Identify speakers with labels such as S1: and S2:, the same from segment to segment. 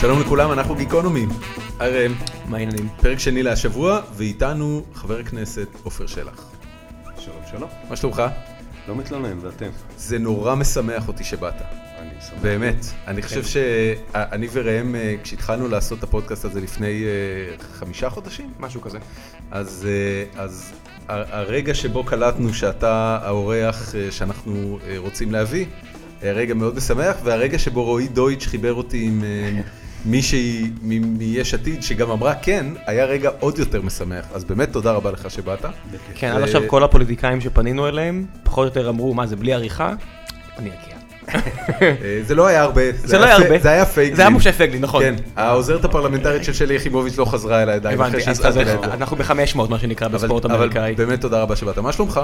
S1: שלום לכולם, אנחנו גיקונומי. הראל,
S2: מה העניינים?
S1: פרק שני להשבוע, ואיתנו חבר הכנסת עופר שלח.
S3: שלום שלום.
S1: מה שלומך?
S3: לא מתלונן, ואתם?
S1: זה נורא משמח אותי שבאת.
S3: אני שמח.
S1: באמת. אני
S2: כן.
S1: חושב שאני וראם, אה, כשהתחלנו לעשות את הפודקאסט הזה לפני אה, חמישה חודשים,
S2: משהו כזה.
S1: אז, אה, אז ה- הרגע שבו קלטנו שאתה האורח אה, שאנחנו אה, רוצים להביא, היה רגע מאוד משמח, והרגע שבו רועי דויטש חיבר אותי עם אה, מישהי מ- מיש עתיד, שגם אמרה כן, היה רגע עוד יותר משמח. אז באמת תודה רבה לך שבאת.
S3: בכיף.
S2: כן,
S1: זה-
S2: עד עכשיו כל הפוליטיקאים שפנינו אליהם, פחות או יותר אמרו, מה זה בלי עריכה? אני אגיע.
S1: אה, זה לא היה הרבה.
S2: זה לא היה הרבה.
S1: זה היה פייגלין.
S2: זה היה משה פייגלין, נכון.
S1: כן, העוזרת הפרלמנטרית של שלי יחימוביץ' לא חזרה אליי עדיין, אחרי
S2: הבנתי, אז אז
S1: שהצטרתי לאירוע.
S2: אנחנו ב-500, מה שנקרא,
S1: אבל-
S2: בספורט
S1: אבל
S2: אמריקאי.
S1: באמת תודה רבה שבאת. מה שלומך?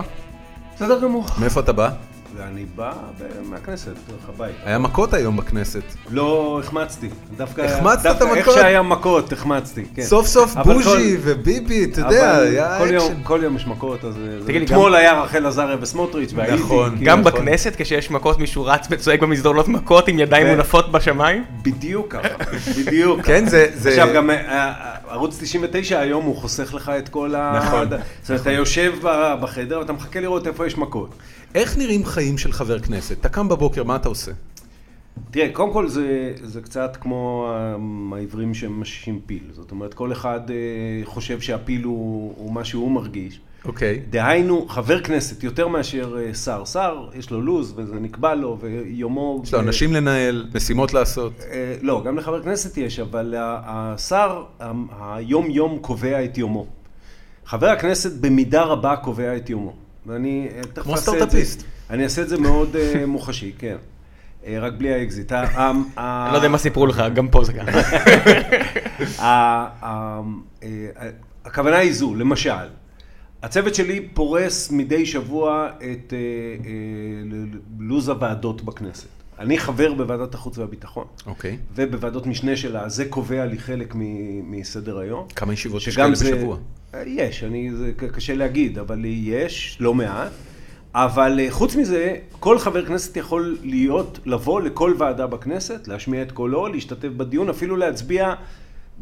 S3: בסדר גמור.
S1: מאיפה אתה בא?
S3: ואני בא ב- מהכנסת, דרך הבית.
S1: היה מכות היום בכנסת.
S3: לא החמצתי. דווקא...
S1: החמצת
S3: דווקא
S1: את
S3: איך
S1: המכות?
S3: שהיה מכות, החמצתי, כן.
S1: סוף סוף
S3: אבל
S1: בוז'י
S3: כל-
S1: וביבי, אתה
S3: אבל
S1: יודע, היה
S3: כל יום-
S1: אקשן.
S3: כל יום יש מכות, אז... זה-
S2: תגיד לי,
S3: אתמול
S2: גם-
S3: היה רחל עזריה וסמוטריץ' והייתי.
S1: נכון.
S3: כאילו,
S2: גם
S3: נכון.
S2: בכנסת, כשיש מכות, מישהו רץ וצועק במסדרונות מכות עם ידיים
S3: כן.
S2: מונפות בשמיים?
S3: בדיוק ככה, בדיוק.
S1: כן, זה... זה-
S3: עכשיו גם אה, אה, ערוץ 99 היום הוא חוסך לך את כל ה...
S1: נכון.
S3: זאת אומרת, אתה יושב ב- בחדר ואתה מחכה לראות איפה יש מכות.
S1: איך נראים חיים של חבר כנסת? אתה קם בבוקר, מה אתה עושה?
S3: תראה, קודם כל זה, זה קצת כמו אה, העיוורים שמשישים פיל. זאת אומרת, כל אחד אה, חושב שהפיל הוא, הוא מה שהוא מרגיש.
S1: אוקיי.
S3: דהיינו, חבר כנסת יותר מאשר אה, שר. שר, יש לו לו"ז וזה נקבע לו, ויומו...
S1: יש לו
S3: ו-
S1: אנשים לנהל, משימות לעשות.
S3: אה, לא, גם לחבר כנסת יש, אבל ה- השר ה- היום-יום קובע את יומו. חבר הכנסת במידה רבה קובע את יומו. ואני אה, תכף
S1: כמו
S3: אעשה את זה.
S1: סטארט-אפיסט.
S3: אני אעשה את זה מאוד אה, מוחשי, כן. אה, רק בלי האקזיט. ה- ה- ה-
S2: אני לא יודע מה סיפרו לך, גם פה זה ככה.
S3: ה- ה- אה, הכוונה היא זו, למשל, הצוות שלי פורס מדי שבוע את אה, אה, ל- ל- לו"ז הוועדות בכנסת. אני חבר בוועדת החוץ והביטחון.
S1: אוקיי.
S3: ובוועדות משנה שלה, זה קובע לי חלק מ- מסדר היום.
S1: כמה ישיבות יש
S3: שגם
S1: כאלה
S3: זה-
S1: בשבוע?
S3: אה, יש, אני, זה ק- קשה להגיד, אבל יש, לא מעט. אבל אה, חוץ מזה, כל חבר כנסת יכול להיות, לבוא לכל ועדה בכנסת, להשמיע את קולו, להשתתף בדיון, אפילו להצביע.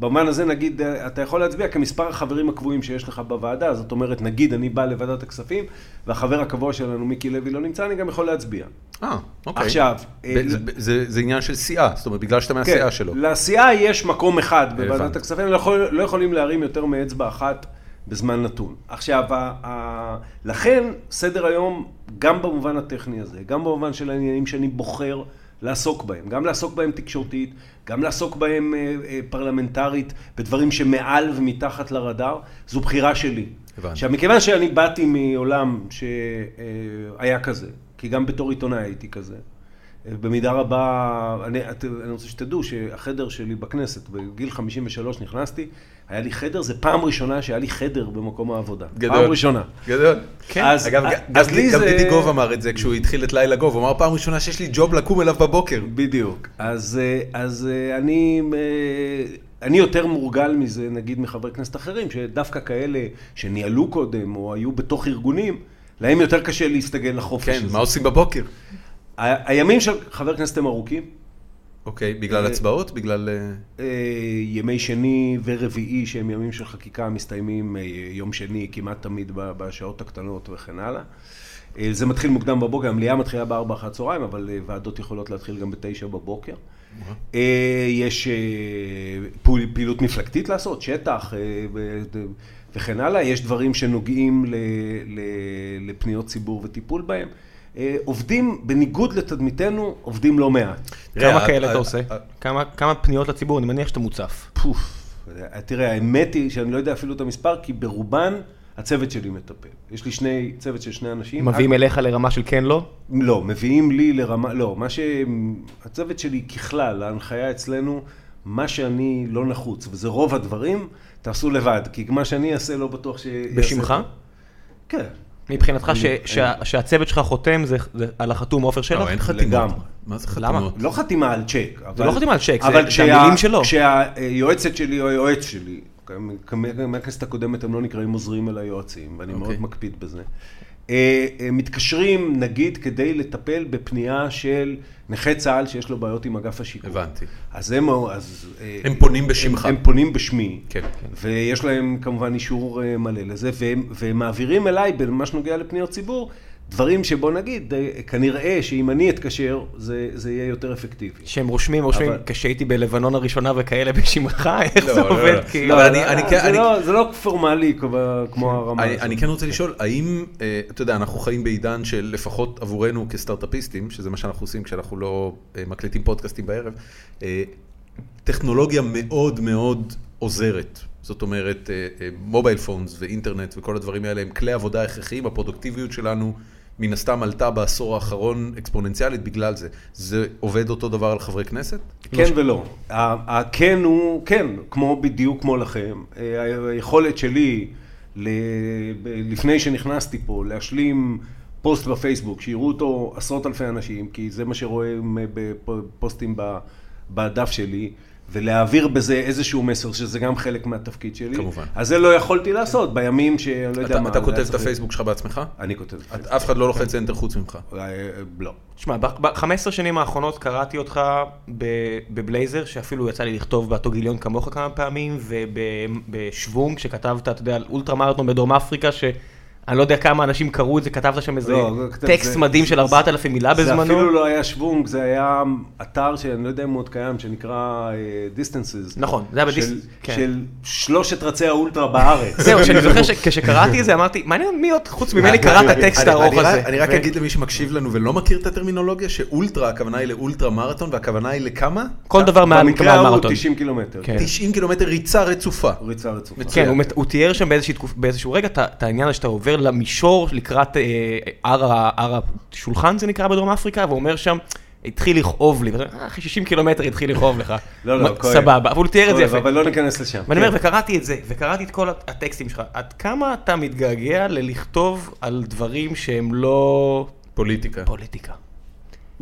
S3: במובן הזה נגיד, אה, אתה יכול להצביע כמספר החברים הקבועים שיש לך בוועדה, זאת אומרת, נגיד אני בא לוועדת הכספים, והחבר הקבוע שלנו, מיקי לוי, לא נמצא, אני גם יכול להצביע.
S1: אה, אוקיי.
S3: עכשיו,
S1: ב-
S3: אה,
S1: זה- זה- זה עניין של סיעה, זאת אומרת, בגלל שאתה מהסיעה שלו.
S3: כן, לסיעה יש מקום אחד בוועדת
S1: הבנתי.
S3: הכספים, לא, יכול, לא יכולים להרים יותר מאצבע אחת בזמן נתון. עכשיו, ה, ה, לכן סדר היום, גם במובן הטכני הזה, גם במובן של העניינים שאני בוחר לעסוק בהם, גם לעסוק בהם תקשורתית, גם לעסוק בהם אה, אה, פרלמנטרית, בדברים שמעל ומתחת לרדאר, זו בחירה שלי.
S1: הבנתי.
S3: עכשיו, מכיוון שאני באתי מעולם שהיה כזה, כי גם בתור עיתונאי הייתי כזה, במידה רבה, אני, את- אני רוצה שתדעו שהחדר שלי בכנסת, בגיל 53 נכנסתי, היה לי חדר, זה פעם ראשונה שהיה לי חדר במקום העבודה. פעם ראשונה.
S1: גדול.
S2: כן.
S3: אז-
S1: אגב,
S3: אז
S1: גם- גם
S3: לי
S1: גם
S3: זה-
S1: דידי גוב אמר את זה כשהוא התחיל את לילה גוב, הוא אמר פעם ראשונה שיש לי ג'וב לקום אליו בבוקר.
S3: בדיוק. אז, אה, אז אה, אני, אה, אני יותר מורגל מזה, נגיד, מחברי כנסת אחרים, שדווקא כאלה שניהלו קודם, או היו בתוך ארגונים, להם יותר קשה להסתגל לחופש
S1: כן,
S3: הזה.
S1: מה עושים בבוקר?
S3: ה- הימים של חבר כנסת הם ארוכים.
S1: אוקיי, בגלל
S3: אה,
S1: הצבעות? בגלל... אה,
S3: אה, ימי שני ורביעי, שהם ימים של חקיקה, מסתיימים אה, יום שני כמעט תמיד ב- בשעות הקטנות וכן הלאה. אה, זה מתחיל מוקדם בבוקר, המליאה מתחילה בארבע אחר הצהריים, אבל אה, ועדות יכולות להתחיל גם בתשע בבוקר. אה, יש אה, פעול- פעילות מפלגתית לעשות, שטח אה, ו- וכן הלאה. יש דברים שנוגעים ל- ל- לפניות ציבור וטיפול בהם. אה, עובדים, בניגוד לתדמיתנו, עובדים לא מעט.
S1: תראה,
S2: כמה
S1: ה-
S2: כאלה
S1: ה-
S2: אתה עושה?
S1: ה-
S2: כמה- כמה פניות לציבור? אני מניח שאתה מוצף.
S3: פוף. תראה, האמת היא שאני לא יודע אפילו את המספר, כי ברובן הצוות שלי מטפל. יש לי שני, צוות של שני אנשים.
S2: מביאים אליך לרמה של כן לא?
S3: לא, מביאים לי לרמה, לא, מה ש... הצוות שלי ככלל, ההנחיה אצלנו, מה שאני לא נחוץ, וזה רוב הדברים, תעשו לבד, כי מה שאני אעשה לא בטוח ש...
S2: בשמך?
S3: כן.
S2: מבחינתך ש-
S3: אין-
S2: שה- שהצוות שלך חותם זה זה על החתום עופר שלח?
S1: לא, אין חתימות.
S3: לגמרי.
S1: מה זה
S2: למה?
S1: חתימות?
S3: לא חתימה על צ'ק. אבל-
S2: לא חתימה על צ'ק, זה-
S3: אבל
S2: זה
S3: כשה-
S2: המילים שלו.
S3: כשהיועצת שלי או היועץ שלי, כ- כ- מהכנסת הקודמת הם לא נקראים עוזרים אלא יועצים, ואני
S1: אוקיי.
S3: מאוד מקפיד בזה. אה, אה, מתקשרים, נגיד, כדי לטפל בפנייה של נכה צה"ל שיש לו בעיות עם אגף השיקום.
S1: הבנתי.
S3: אז הם... אז, אה,
S1: הם פונים בשמך.
S3: הם פונים בשמי,
S1: כן, כן.
S3: ויש להם כמובן אישור אה, מלא לזה, והם, והם מעבירים אליי, במה שנוגע לפניות ציבור, דברים שבוא נגיד, אה, כנראה שאם אני אתקשר, זה, זה יהיה יותר אפקטיבי.
S2: שהם רושמים, רושמים,
S3: אבל-
S2: כשהייתי בלבנון הראשונה וכאלה בשמך, איך
S1: לא,
S2: זה
S1: לא, לא.
S2: עובד?
S1: לא,
S2: כאילו?
S1: אבל אני- אני
S3: זה,
S1: כן-
S3: לא, זה לא פורמלי כמו- כמו הרמה
S1: אני,
S3: הזאת.
S1: אני כן רוצה לשאול, האם, אה, אתה יודע, אנחנו חיים בעידן של לפחות עבורנו כסטארט-אפיסטים, שזה מה שאנחנו עושים כשאנחנו לא אה, מקליטים פודקאסטים בערב, אה, טכנולוגיה מאוד מאוד עוזרת. זאת אומרת, אה, אה, מובייל פונס ואינטרנט וכל הדברים האלה הם כלי עבודה הכרחיים, הפרודוקטיביות שלנו מן הסתם עלתה בעשור האחרון אקספוננציאלית בגלל זה. זה עובד אותו דבר על חברי כנסת?
S3: כן ולא. ה- הכן הוא, כן, כמו בדיוק כמו לכם. אה, ה- היכולת שלי, ל- ב- לפני שנכנסתי פה, להשלים פוסט בפייסבוק, שיראו אותו עשרות אלפי אנשים, כי זה מה שרואים אה, בפוסטים ב- בדף שלי, ולהעביר בזה איזשהו מסר, שזה גם חלק מהתפקיד שלי.
S1: כמובן.
S3: אז זה לא יכולתי לעשות בימים שאני לא יודע
S1: אתה,
S3: מה.
S1: אתה
S3: זה
S1: כותב
S3: היה
S1: את
S3: צריך-
S1: הפייסבוק שלך בעצמך?
S3: אני כותב את
S1: את-
S3: הפייסבוק.
S1: אף אחד לא לוחץ enter חוץ ממך.
S3: אה, אה, לא.
S2: תשמע, ב-15 שנים האחרונות קראתי אותך ב- בבלייזר, שאפילו יצא לי לכתוב באותו גיליון כמוך כמה פעמים, ובשוונג, שכתבת, אתה יודע, על אולטרה מרתון בדרום אפריקה, שאני לא יודע כמה אנשים קראו את זה, כתבת שם איזה
S3: לא, זה-
S2: טקסט
S3: זה-
S2: מדהים של
S3: זה-
S2: 4,000 מילה בזמנו.
S3: זה אפילו לא היה שוונג, זה היה אתר שאני לא יודע אם הוא עוד קיים, שנקרא אה, Distances.
S2: נכון, זה היה בדיס-
S3: של-
S2: כן.
S3: של שלושת רצי האולטרה בארץ.
S2: זהו, שאני זוכר שכשקראתי את זה אמרתי, מעניין מי עוד חוץ ממני קרא את הטקסט
S1: לא- אני- אני-
S2: הארוך
S1: אני
S2: הזה.
S1: רק- אני רק
S2: ו-
S1: אגיד למי שמקשיב לנו ולא מכיר את הטרמינולוגיה, שאולטרה, הכוונה היא לאולטרה מרתון, והכוונה היא לכמה?
S2: כל דבר מעל
S3: במקרה
S2: מעל
S3: ההוא
S2: מרתון.
S3: 90 קילומטר.
S2: כן.
S1: 90 קילומטר ריצה רצופה.
S3: ריצה רצופה.
S1: מצוין.
S2: כן, הוא מת- הוא תיאר שם באיזושהי תקופ- באיזשהו רגע את ה- את העניין הזה שאתה עובר למישור לקראת אה, הר ה- הר השולחן זה נקרא בדרום אפריקה, והוא אומר שם, התחיל לכאוב לי, ואתה אומר, "אה, אחרי 60 קילומטר התחיל לכאוב לך.
S3: לא, לא,
S2: מה-
S3: כואב.
S2: סבבה, אבל הוא תיאר את זה
S3: כואב,
S2: יפה.
S3: אבל לא ניכנס לשם.
S2: ואני אומר,
S3: כן.
S2: וקראתי את זה, וקראתי את כל הט- הטקסטים שלך, עד כמה אתה מתגעגע ללכתוב על דברים שהם לא
S1: פוליטיקה.
S2: פוליטיקה?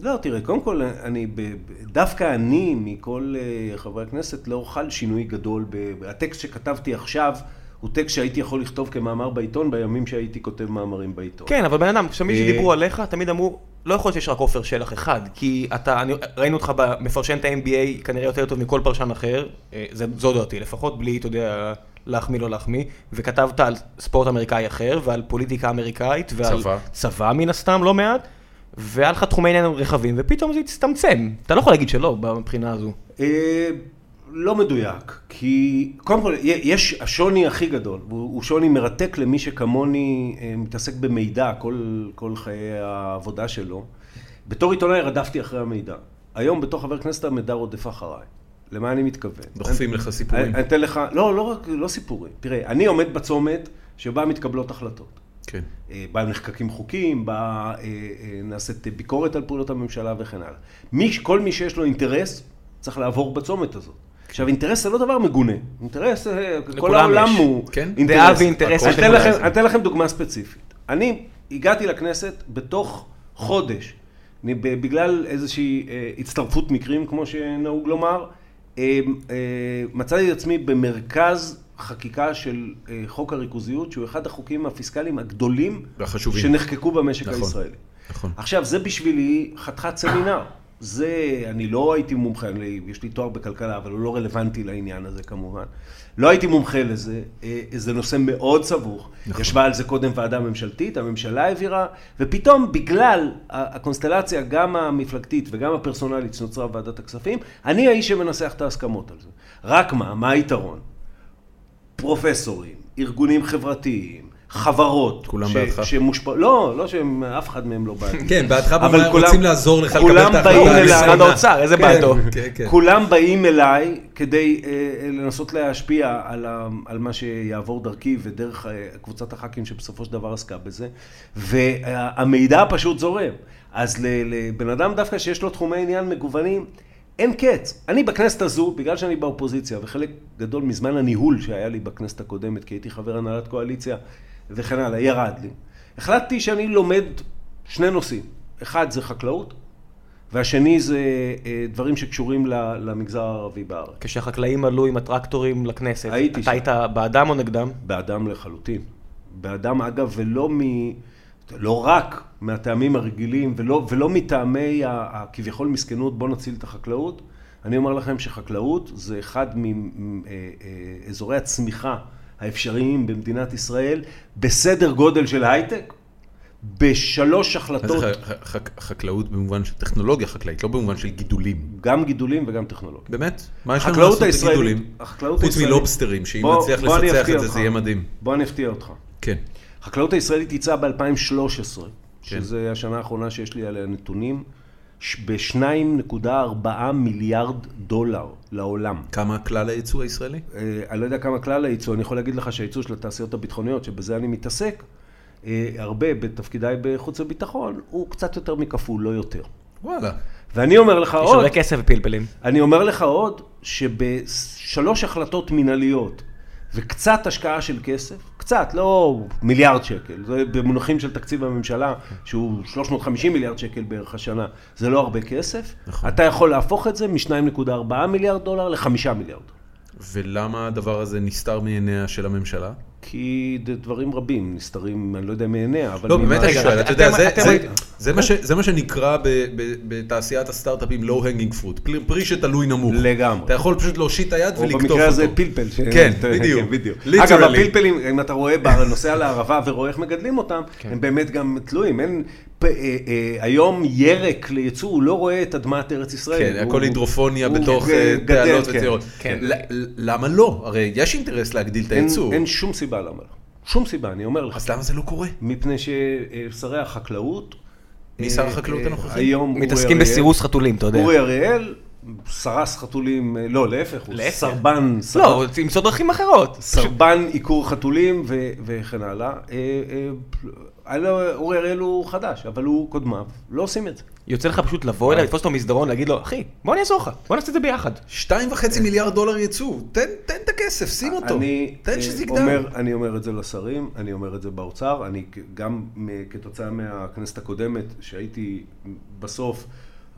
S3: לא, תראה, קודם כל, אני, ב- ב- דווקא אני מכל אה, חברי הכנסת לא אוכל שינוי גדול. ב- ב- הטקסט שכתבתי עכשיו הוא טקסט שהייתי יכול לכתוב כמאמר בעיתון בימים שהייתי כותב מאמרים בעיתון.
S2: כן, אבל בן אדם, כשמי
S3: אה,
S2: שדיברו עליך, תמיד אמרו, לא יכול להיות שיש רק עופר שלח אחד, כי אתה, אני, ראינו אותך ב- מפרשן את ה-NBA כנראה יותר טוב מכל פרשן אחר, אה, זה, זו דעתי לפחות, בלי, אתה יודע, להחמיא לא להחמיא, וכתבת על ספורט אמריקאי אחר, ועל פוליטיקה אמריקאית, ועל
S1: צבא.
S2: צבא מן הסתם, לא מעט, והיה לך תחומי עניין רחבים, ופתאום זה הצטמצם, אתה לא יכול להגיד שלא מבחינה הזו.
S3: אה, לא מדויק, כי קודם כל, יש, השוני הכי גדול, הוא הוא שוני מרתק למי שכמוני אה, מתעסק במידע כל, כל חיי העבודה שלו. בתור עיתונאי רדפתי אחרי המידע. היום בתור חבר כנסת המידע רודף אחריי. למה אני מתכוון?
S1: דוחפים לך סיפורים.
S3: אני, אני אתן לך, לא, לא רק, לא סיפורים. תראה, אני עומד בצומת שבה מתקבלות החלטות.
S1: כן.
S3: אה, בה נחקקים חוקים, בה אה, אה, נעשית ביקורת על פעולות הממשלה וכן הלאה. מי, כל מי שיש לו אינטרס, צריך לעבור בצומת הזאת. עכשיו, אינטרס זה לא דבר מגונה. אינטרס, אה, כל
S2: לכולם
S3: העולם
S2: יש.
S3: הוא
S1: כן.
S3: אינטרס.
S2: דעה ואינטרס
S3: אני
S2: יש
S3: אתן
S2: לכולם.
S3: לכם- אני אתן לכם דוגמה ספציפית. אני הגעתי לכנסת בתוך חודש, אני, ב- בגלל איזושהי אה, הצטרפות מקרים, כמו שנהוג לומר, אה, אה, מצאתי את עצמי במרכז חקיקה של אה, חוק הריכוזיות, שהוא אחד החוקים הפיסקליים הגדולים
S1: והחשובים.
S3: שנחקקו במשק
S1: נכון,
S3: הישראלי.
S1: נכון.
S3: עכשיו, זה בשבילי חתיכת סמינר. זה, אני לא הייתי מומחה, אני, יש לי תואר בכלכלה, אבל הוא לא רלוונטי לעניין הזה כמובן. לא הייתי מומחה לזה, אה, זה נושא מאוד סבוך. נכון. ישבה על זה קודם ועדה ממשלתית, הממשלה העבירה, ופתאום בגלל ה- הקונסטלציה, גם המפלגתית וגם הפרסונלית שנוצרה בוועדת הכספים, אני האיש שמנסח את ההסכמות על זה. רק מה, מה היתרון? פרופסורים, ארגונים חברתיים, חברות.
S1: כולם
S3: ש-
S1: בעדך.
S3: שמושפע... לא, לא שהם, אף אחד מהם לא בעד.
S1: כן, בעדך
S3: אבל
S1: במאי
S3: כולם-
S1: רוצים לעזור לך לקבל
S3: כולם
S1: את ההחלטה.
S3: באים אליי,
S1: הנכונה.
S2: משרד האוצר, איזה
S1: כן,
S2: בעדו.
S1: כן, כן.
S3: כולם באים אליי כדי אה, אה, לנסות להשפיע על, ה, על מה שיעבור דרכי ודרך אה, קבוצת הח"כים שבסופו של דבר עסקה בזה, והמידע פשוט זורם. אז ל- לבן אדם דווקא שיש לו תחומי עניין מגוונים, אין קץ. אני בכנסת הזו, בגלל שאני באופוזיציה, וחלק גדול מזמן הניהול שהיה לי בכנסת הקודמת, כי הייתי חבר הנהלת קואליציה וכן הלאה, ירד לי. החלטתי שאני לומד שני נושאים. אחד זה חקלאות, והשני זה אה, דברים שקשורים ל- למגזר הערבי בארץ.
S2: כשהחקלאים עלו עם הטרקטורים לכנסת,
S3: הייתי
S2: אתה
S3: שם.
S2: היית בעדם או נגדם?
S3: באדם לחלוטין. באדם, אגב, ולא מ... לא רק מהטעמים הרגילים, ולא, ולא מטעמי ה- ה- כביכול מסכנות, בוא נציל את החקלאות. אני אומר לכם שחקלאות זה אחד מאזורי אה, הצמיחה האפשריים במדינת ישראל, בסדר גודל של הייטק, בשלוש
S1: אז זה
S3: החלטות,
S1: ח- ח- ח- חקלאות במובן של טכנולוגיה חקלאית, לא במובן של גידולים.
S3: גם גידולים וגם טכנולוגיה.
S1: באמת? מה יש לנו
S3: החקלאות
S1: לעשות
S3: הישראלית,
S1: בגידולים?
S3: החקלאות
S1: חוץ
S3: הישראלית,
S1: מלובסטרים, שאם
S3: בוא-
S1: נצליח
S3: בוא אני
S1: לפצח
S3: אפתיע
S1: את זה,
S3: אותך.
S1: זה יהיה מדהים.
S3: בוא אני אפתיע אותך.
S1: כן.
S3: החקלאות הישראלית יצאה ב-2013,
S2: כן.
S3: שזו השנה האחרונה שיש לי עליה נתונים, ש- ב-2.4 מיליארד דולר לעולם.
S1: כמה כלל הייצוא הישראלי?
S3: אה, אני לא יודע כמה כלל הייצוא, אני יכול להגיד לך שהייצוא של התעשיות הביטחוניות, שבזה אני מתעסק, אה, הרבה בתפקידיי בחוץ וביטחון, הוא קצת יותר מכפול, לא יותר.
S1: וואלה.
S3: ואני אומר לך אוקיי,
S2: יש
S3: אה, עוד,
S2: הרבה כסף ופלפלים.
S3: אני אומר לך עוד, שבשלוש החלטות מינהליות וקצת השקעה של כסף, קצת, לא מיליארד שקל, זה במונחים של תקציב הממשלה, שהוא 350 מיליארד שקל בערך השנה, זה לא הרבה כסף,
S1: נכון.
S3: אתה יכול להפוך את זה מ-2.4 מיליארד דולר ל-5 מיליארד.
S1: ולמה הדבר הזה נסתר מעיניה של הממשלה?
S3: כי זה דברים רבים נסתרים, אני לא יודע מעיניה, אבל...
S1: לא,
S3: ממה-
S1: באמת אני
S2: רגע,
S1: שואל,
S2: אתם-
S1: אתה יודע, זה-
S2: אתם-
S1: זה-
S2: אתם-
S1: זה מה ש- זה מה שנקרא ב- ב- בתעשיית הסטארט-אפים low-hanging fruit, פרי- פרי שתלוי נמוך.
S3: לגמרי.
S1: אתה יכול פשוט להושיט את היד
S3: או
S1: ולקטוף אותו.
S3: במקרה הזה פלפל. ש-
S1: כן,
S3: אתה-
S1: בדיוק.
S3: כן, בדיוק.
S1: Literally.
S3: אגב, הפלפלים, אם אתה רואה, ב- נוסע לערבה ורואה איך מגדלים אותם,
S2: כן.
S3: הם באמת גם תלויים. אין... פ- אה, אה, היום ירק לייצוא, הוא לא רואה את אדמת ארץ ישראל.
S1: כן,
S3: הוא-
S1: הכל הידרופוניה
S3: הוא
S1: בתוך
S3: ג-
S1: אה,
S3: גדל,
S1: תעלות
S3: כן.
S1: וצירות.
S2: כן.
S1: ל- ל- למה לא? הרי יש אינטרס להגדיל את
S3: אין-
S1: הייצור.
S3: אין שום סיבה למה לא. שום סיבה, אני אומר לך.
S1: אז למה זה לא קורה?
S3: מפני ששרי החקלאות...
S1: מי שר
S3: אה,
S1: החקלאות
S3: אה,
S1: הנוכחי?
S3: היום אורי
S2: מתעסקים
S3: אריאל.
S2: בסירוס חתולים, אתה יודע.
S3: אורי אריאל, סרס חתולים, אה, לא, להפך, הוא
S2: להפך.
S3: סרבן, סרבן-
S2: לא, תמצאו דרכים אחרות.
S3: סרבן עיקור חתולים ו- וכן הלאה. אה, אה, אני לא- אורי אריאל הוא חדש, אבל הוא קודמיו, לא עושים את זה.
S2: יוצא לך פשוט לבוא אליו, לתפוס אותו מסדרון, להגיד לו, אחי, בוא אני אעזור לך, בוא נעשה את זה ביחד.
S1: שתיים וחצי מיליארד דולר יצוא, תן, תן את הכסף, שים אותו,
S3: אני,
S1: תן
S3: אה,
S1: שזה
S3: אומר,
S1: יגדל.
S3: אני אומר את זה לשרים, אני אומר את זה באוצר, אני כ- גם מ- כתוצאה מהכנסת הקודמת, שהייתי בסוף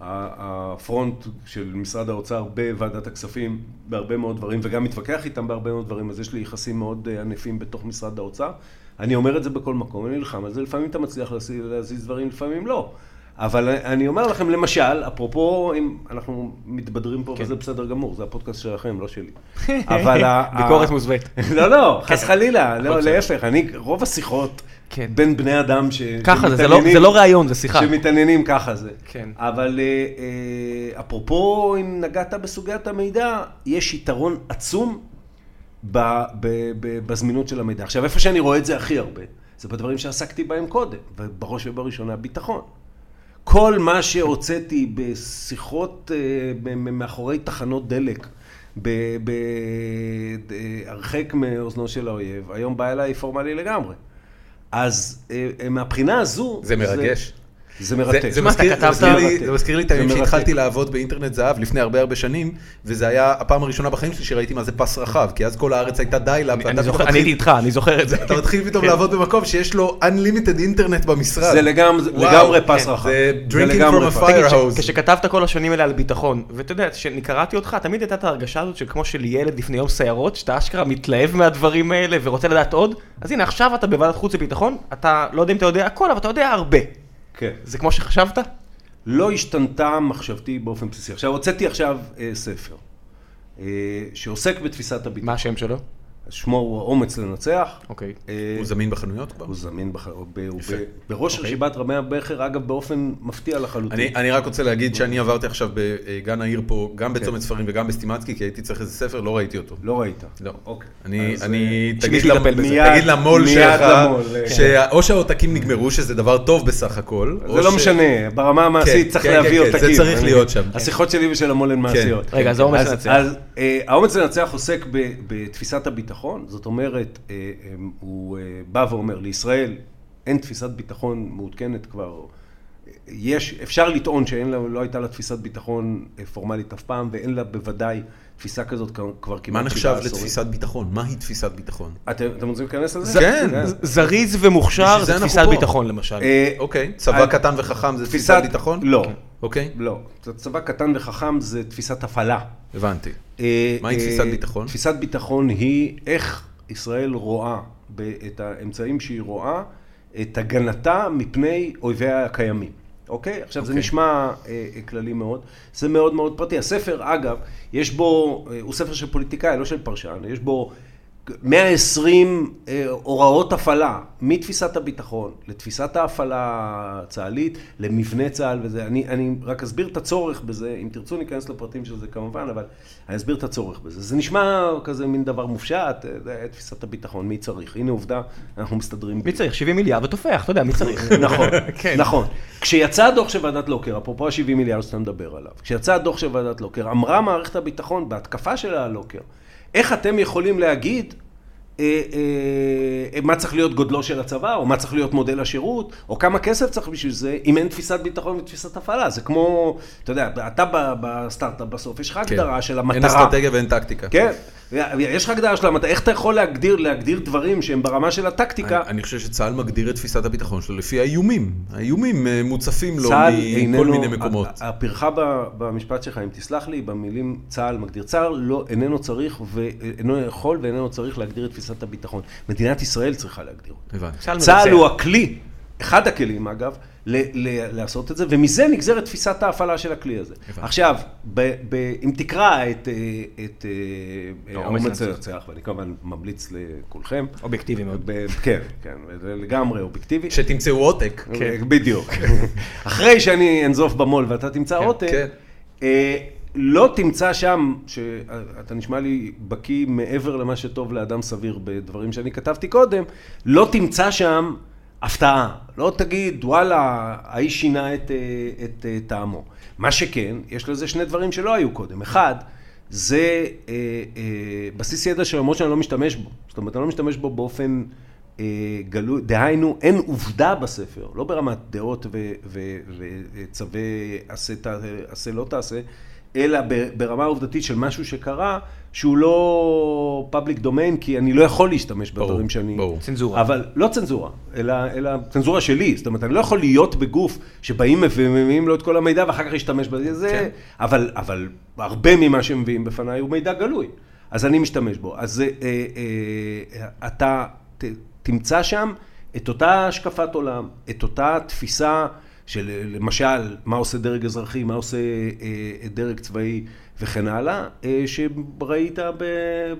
S3: ה- הפרונט של משרד האוצר בוועדת הכספים בהרבה מאוד דברים, וגם מתווכח איתם בהרבה מאוד דברים, אז יש לי יחסים מאוד אה, ענפים בתוך משרד האוצר. אני אומר את זה בכל מקום, אני נלחם על זה, לפעמים אתה מצליח להזיז, להזיז דברים, לפעמים לא. אבל אני- אני אומר לכם, למשל, אפרופו, אם אנחנו מתבדרים פה,
S2: כן.
S3: וזה בסדר גמור, זה הפודקאסט שלכם, לא שלי. אבל ה-
S2: ביקורת מוסווית.
S3: לא, לא, חס
S2: כן.
S3: חלילה, לא,
S2: בסדר.
S3: להפך, אני, רוב השיחות
S2: כן.
S3: בין בני אדם ש...
S2: ככה זה, זה לא-
S3: שמתעניינים-
S2: זה לא ראיון, זה שיחה.
S3: שמתעניינים ככה זה.
S2: כן.
S3: אבל אה, אה, אפרופו, אם נגעת בסוגיית המידע, יש יתרון עצום ב, ב, ב, בזמינות של המידע. עכשיו, איפה שאני רואה את זה הכי הרבה, זה בדברים שעסקתי בהם קודם, ובראש ובראשונה ביטחון. כל מה שהוצאתי בשיחות אה, ב- מ- מאחורי תחנות דלק, ב- ב- ד- הרחק מאוזנו של האויב, היום בא אליי פורמלי לגמרי. אז אה, אה, מהבחינה הזו...
S1: זה מרגש.
S3: זה, זה מרתק.
S1: זה, זה,
S2: מה, אתה
S1: מזכיר, זה,
S2: כתבת?
S1: מזכיר לי,
S3: מרתק.
S1: זה מזכיר לי את הימים
S3: זה מרתק.
S1: שהתחלתי לעבוד באינטרנט זהב לפני הרבה הרבה שנים, וזה היה הפעם הראשונה בחיים שלי שראיתי מה זה פס רחב, כי אז כל הארץ הייתה דיילאפ, ואתה
S2: אני
S1: פתאום
S2: זוכר- אני
S1: מתחיל-
S2: הייתי איתך, אני זוכר את זה. כן.
S1: אתה מתחיל פתאום לעבוד במקום שיש לו unlimited אינטרנט במשרד.
S3: כן. זה לגמרי,
S1: וואו,
S3: לגמרי פס
S1: כן,
S3: רחב.
S1: זה
S3: זה
S1: drinking
S3: לגמרי
S1: from a
S3: פס.
S1: fire.
S2: תגיד,
S1: Firehouse.
S2: כש- כשכתבת כל השנים האלה על ביטחון, ואתה יודע, כשאני קראתי אותך, תמיד הייתה את ההרגשה הזאת של כמו של ילד לפני יום סיירות, שאתה אשכרה מתלהב מהדברים האלה ורוצה לדעת עוד, אז הנה עכשיו אתה בוועדת חוץ וביטחון, אתה לא יודע אם אתה יודע הכל, אבל אתה יודע הרבה.
S3: כן.
S2: זה כמו שחשבת?
S3: לא השתנתה מחשבתי באופן בסיסי. עכשיו, הוצאתי עכשיו אה, ספר, אה, שעוסק בתפיסת הביטחון.
S2: מה השם שלו?
S3: שמו הוא האומץ לנצח.
S2: אוקיי.
S3: אה,
S1: הוא זמין בחנויות כבר?
S3: הוא זמין בח... הוא ב... הוא
S1: יפה.
S3: ב... בראש
S1: אוקיי.
S3: רשימת רמי הבכר, אגב, באופן מפתיע לחלוטין.
S1: אני, אני רק רוצה להגיד שאני עברתי עכשיו בגן העיר פה, גם
S3: כן.
S1: בצומת ספרים וגם בסטימצקי, כי הייתי צריך איזה ספר, לא ראיתי אותו.
S3: לא ראית.
S1: לא.
S3: אוקיי.
S1: אני,
S3: אז,
S1: אני,
S2: אה,
S1: תגיד,
S2: שמישהו
S1: למ...
S2: יטפל בזה.
S1: מיד, תגיד
S3: מיד-
S1: למו"ל
S3: מיד
S1: שלך,
S3: למו"ל, כן.
S1: שאו שהעותקים נגמרו, שזה דבר טוב בסך הכל,
S3: אה,
S1: או
S3: זה לא
S1: ש-
S3: משנה, ברמה המעשית
S1: כן,
S3: צריך
S1: כן,
S3: להביא
S1: כן, כן,
S3: עותקים.
S1: זה צריך
S3: אני-
S1: להיות שם. כן.
S3: השיחות שלי ושל המו"ל הן מעשיות.
S2: רגע, אז האומץ
S3: אז-
S2: לנצח.
S3: אז אה, האומץ לנצח עוסק ב- בתפיסת הביטחון, זאת אומרת, אה, אה, הוא אה, בא ואומר, לישראל אין תפיסת ביטחון מעודכנת כבר. יש, אפשר לטעון שאין לה, לא הייתה לה תפיסת ביטחון אה, פורמלית אף פעם, ואין לה בוודאי תפיסה כזאת כבר- כבר
S1: מה
S3: כמעט
S1: נחשב
S3: שבעה עשורים.
S1: לתפיסת ביטחון? מהי תפיסת ביטחון?
S3: אתם אתם רוצים להיכנס
S1: זה-
S3: לזה?
S1: כן.
S2: ז- זריז ומוכשר
S1: בשביל זה
S2: זה
S1: אנחנו
S2: תפיסת
S1: פה.
S2: ביטחון למשל.
S3: אה,
S1: אוקיי, צבא
S3: אני-
S1: קטן וחכם זה תפיסת ביטחון?
S3: לא,
S1: אוקיי,
S3: לא. צ- צבא קטן וחכם זה תפיסת הפעלה.
S1: הבנתי. כן.
S3: אה,
S1: מהי
S3: אה,
S1: תפיסת ביטחון?
S3: תפיסת ביטחון היא איך ישראל רואה ב- את האמצעים שהיא רואה, אה, את הגנתה מפני אויביה הקיימים. אוקיי? עכשיו, זה
S1: אוקיי.
S3: נשמע אה, כללי מאוד. זה מאוד מאוד פרטי. הספר, אגב, יש בו, אה, הוא ספר של פוליטיקאי, לא של פרשן, יש בו 120 אה, הוראות הפעלה, מתפיסת הביטחון לתפיסת ההפעלה הצה"לית, למבנה צה"ל וזה. אני, אני רק אסביר את הצורך בזה, אם תרצו ניכנס לפרטים של זה כמובן, אבל אני אסביר את הצורך בזה. זה נשמע כזה מין דבר מופשט, אה, אה, תפיסת הביטחון, מי צריך? הנה עובדה, אנחנו מסתדרים.
S2: מי צריך? 70 מיליארד ותופח, אתה יודע, מי צריך?
S3: נכון,
S2: כן.
S3: נכון. כשיצא הדוח של ועדת לוקר, אפרופו ה-70 מיליארד שאתה מדבר עליו, כשיצא הדוח של ועדת לוקר, אמרה מערכת הביטחון בהתקפה שלה על לוקר, איך אתם יכולים להגיד אה, אה, מה צריך להיות גודלו של הצבא, או מה צריך להיות מודל השירות, או כמה כסף צריך בשביל זה, אם אין תפיסת ביטחון ותפיסת הפעלה. זה כמו, אתה יודע, אתה ב- בסטארט-אפ בסוף, יש לך
S1: כן.
S3: הגדרה של המטרה.
S1: אין אסטרטגיה ואין טקטיקה.
S3: כן, יש לך הגדרה של המטרה, איך אתה יכול להגדיר, להגדיר דברים שהם ברמה של הטקטיקה,
S1: אני, אני חושב שצה"ל מגדיר את תפיסת הביטחון שלו לפי האיומים. האיומים אה, מוצפים לו
S3: צה"ל
S1: מכל
S3: איננו-
S1: מיני מקומות.
S3: ה- הפרחה ב- במשפט שלך, אם תסלח לי, במילים צה"ל מגדיר צה"ל, לא, איננו צריך ואיננו יכול ואיננו צריך להגדיר את תפיסת הביטחון. מדינת ישראל צריכה להגדיר אותה.
S1: הבנתי.
S2: צה"ל
S3: צה"ל
S2: מבצע.
S3: הוא הכלי, אחד הכלים אגב, ל- ל- לעשות את זה, ומזה נגזרת תפיסת ההפעלה של הכלי הזה.
S1: הבנתי.
S3: עכשיו, ב- ב- אם תקרא את אה, את, אה,
S2: לא,
S3: האומץ
S2: אומץ
S3: לנצח, ואני כמובן ממליץ לכולכם,
S2: אובייקטיבי מאוד.
S3: ב- כן, כן, זה לגמרי אובייקטיבי.
S1: שתמצאו עותק.
S3: כן. בדיוק. אחרי שאני אנזוף במו"ל ואתה תמצא
S2: כן,
S3: עותק,
S1: כן.
S3: אה, לא תמצא שם, שאתה נשמע לי בקיא מעבר למה שטוב לאדם סביר בדברים שאני כתבתי קודם, לא תמצא שם הפתעה. לא תגיד, וואלה, האיש שינה את, אה, את אה, טעמו. מה שכן, יש לזה שני דברים שלא היו קודם. אחד, זה אה, אה, בסיס ידע שלמרות שאני לא משתמש בו. זאת אומרת, אני לא משתמש בו באופן אה, גלוי, דהיינו, אין עובדה בספר, לא ברמת דעות וצווי עשה, ת- עשה לא תעשה, אלא ב- ברמה העובדתית של משהו שקרה, שהוא לא public domain, כי אני לא יכול להשתמש
S1: ברור,
S3: בדברים שאני...
S1: ברור.
S2: צנזורה.
S3: אבל לא צנזורה, אלא, אלא צנזורה שלי. זאת אומרת, אני לא יכול להיות בגוף שבאים ומביאים לו את כל המידע ואחר כך להשתמש בזה,
S2: כן.
S3: כן. אבל, אבל הרבה ממה שמביאים בפניי הוא מידע גלוי. אז אני משתמש בו. אז אה, אה, אה, אתה ת, תמצא שם את אותה השקפת עולם, את אותה תפיסה של אה, למשל, מה עושה דרג אזרחי, מה עושה אה, דרג צבאי וכן הלאה, אה, שראית ב,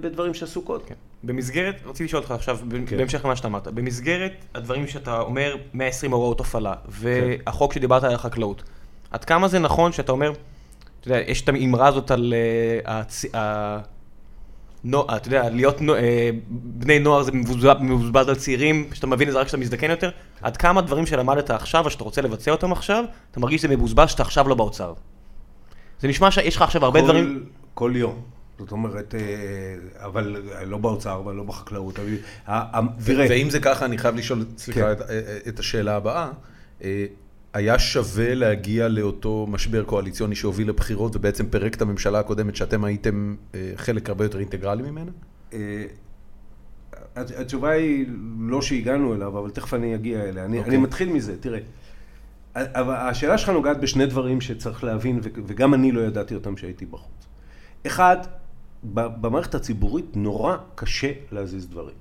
S3: בדברים שעשו קודם.
S2: כן. במסגרת, רציתי לשאול אותך עכשיו, ב-
S3: כן.
S2: בהמשך למה שאתה אמרת, במסגרת הדברים שאתה אומר, 120 הוראות הפעלה, והחוק שדיברת על החקלאות, עד כמה זה נכון שאתה אומר, אתה יודע, יש את האמרה הזאת על... אה, הצ- ה- נו, אתה יודע, להיות נו- אה, בני נוער זה מבוזבז- מבוזבז על צעירים, שאתה מבין את זה רק כשאתה מזדקן יותר, עד כמה דברים שלמדת עכשיו, או שאתה רוצה לבצע אותם עכשיו, אתה מרגיש שזה מבוזבז שאתה עכשיו לא באוצר. זה נשמע שיש לך עכשיו הרבה
S3: כל-
S2: דברים...
S3: כל יום. זאת אומרת, אה, אבל לא באוצר, אבל לא בחקלאות. אבל- ה- ה-
S1: ו-
S3: תראה,
S1: ואם זה ככה, אני חייב לשאול, סליחה,
S3: כן.
S1: את- אה, את השאלה הבאה. אה, היה שווה להגיע לאותו משבר קואליציוני שהוביל לבחירות ובעצם פירק את הממשלה הקודמת, שאתם הייתם אה, חלק הרבה יותר אינטגרלי ממנה?
S3: אה, הת- התשובה היא לא שהגענו אליו, אבל תכף אני אגיע אליה. אני,
S1: אוקיי.
S3: אני מתחיל מזה, תראה. ה- אבל השאלה שלך נוגעת בשני דברים שצריך להבין, ו- וגם אני לא ידעתי אותם כשהייתי בחוץ. אחד, ב- במערכת הציבורית נורא קשה להזיז דברים.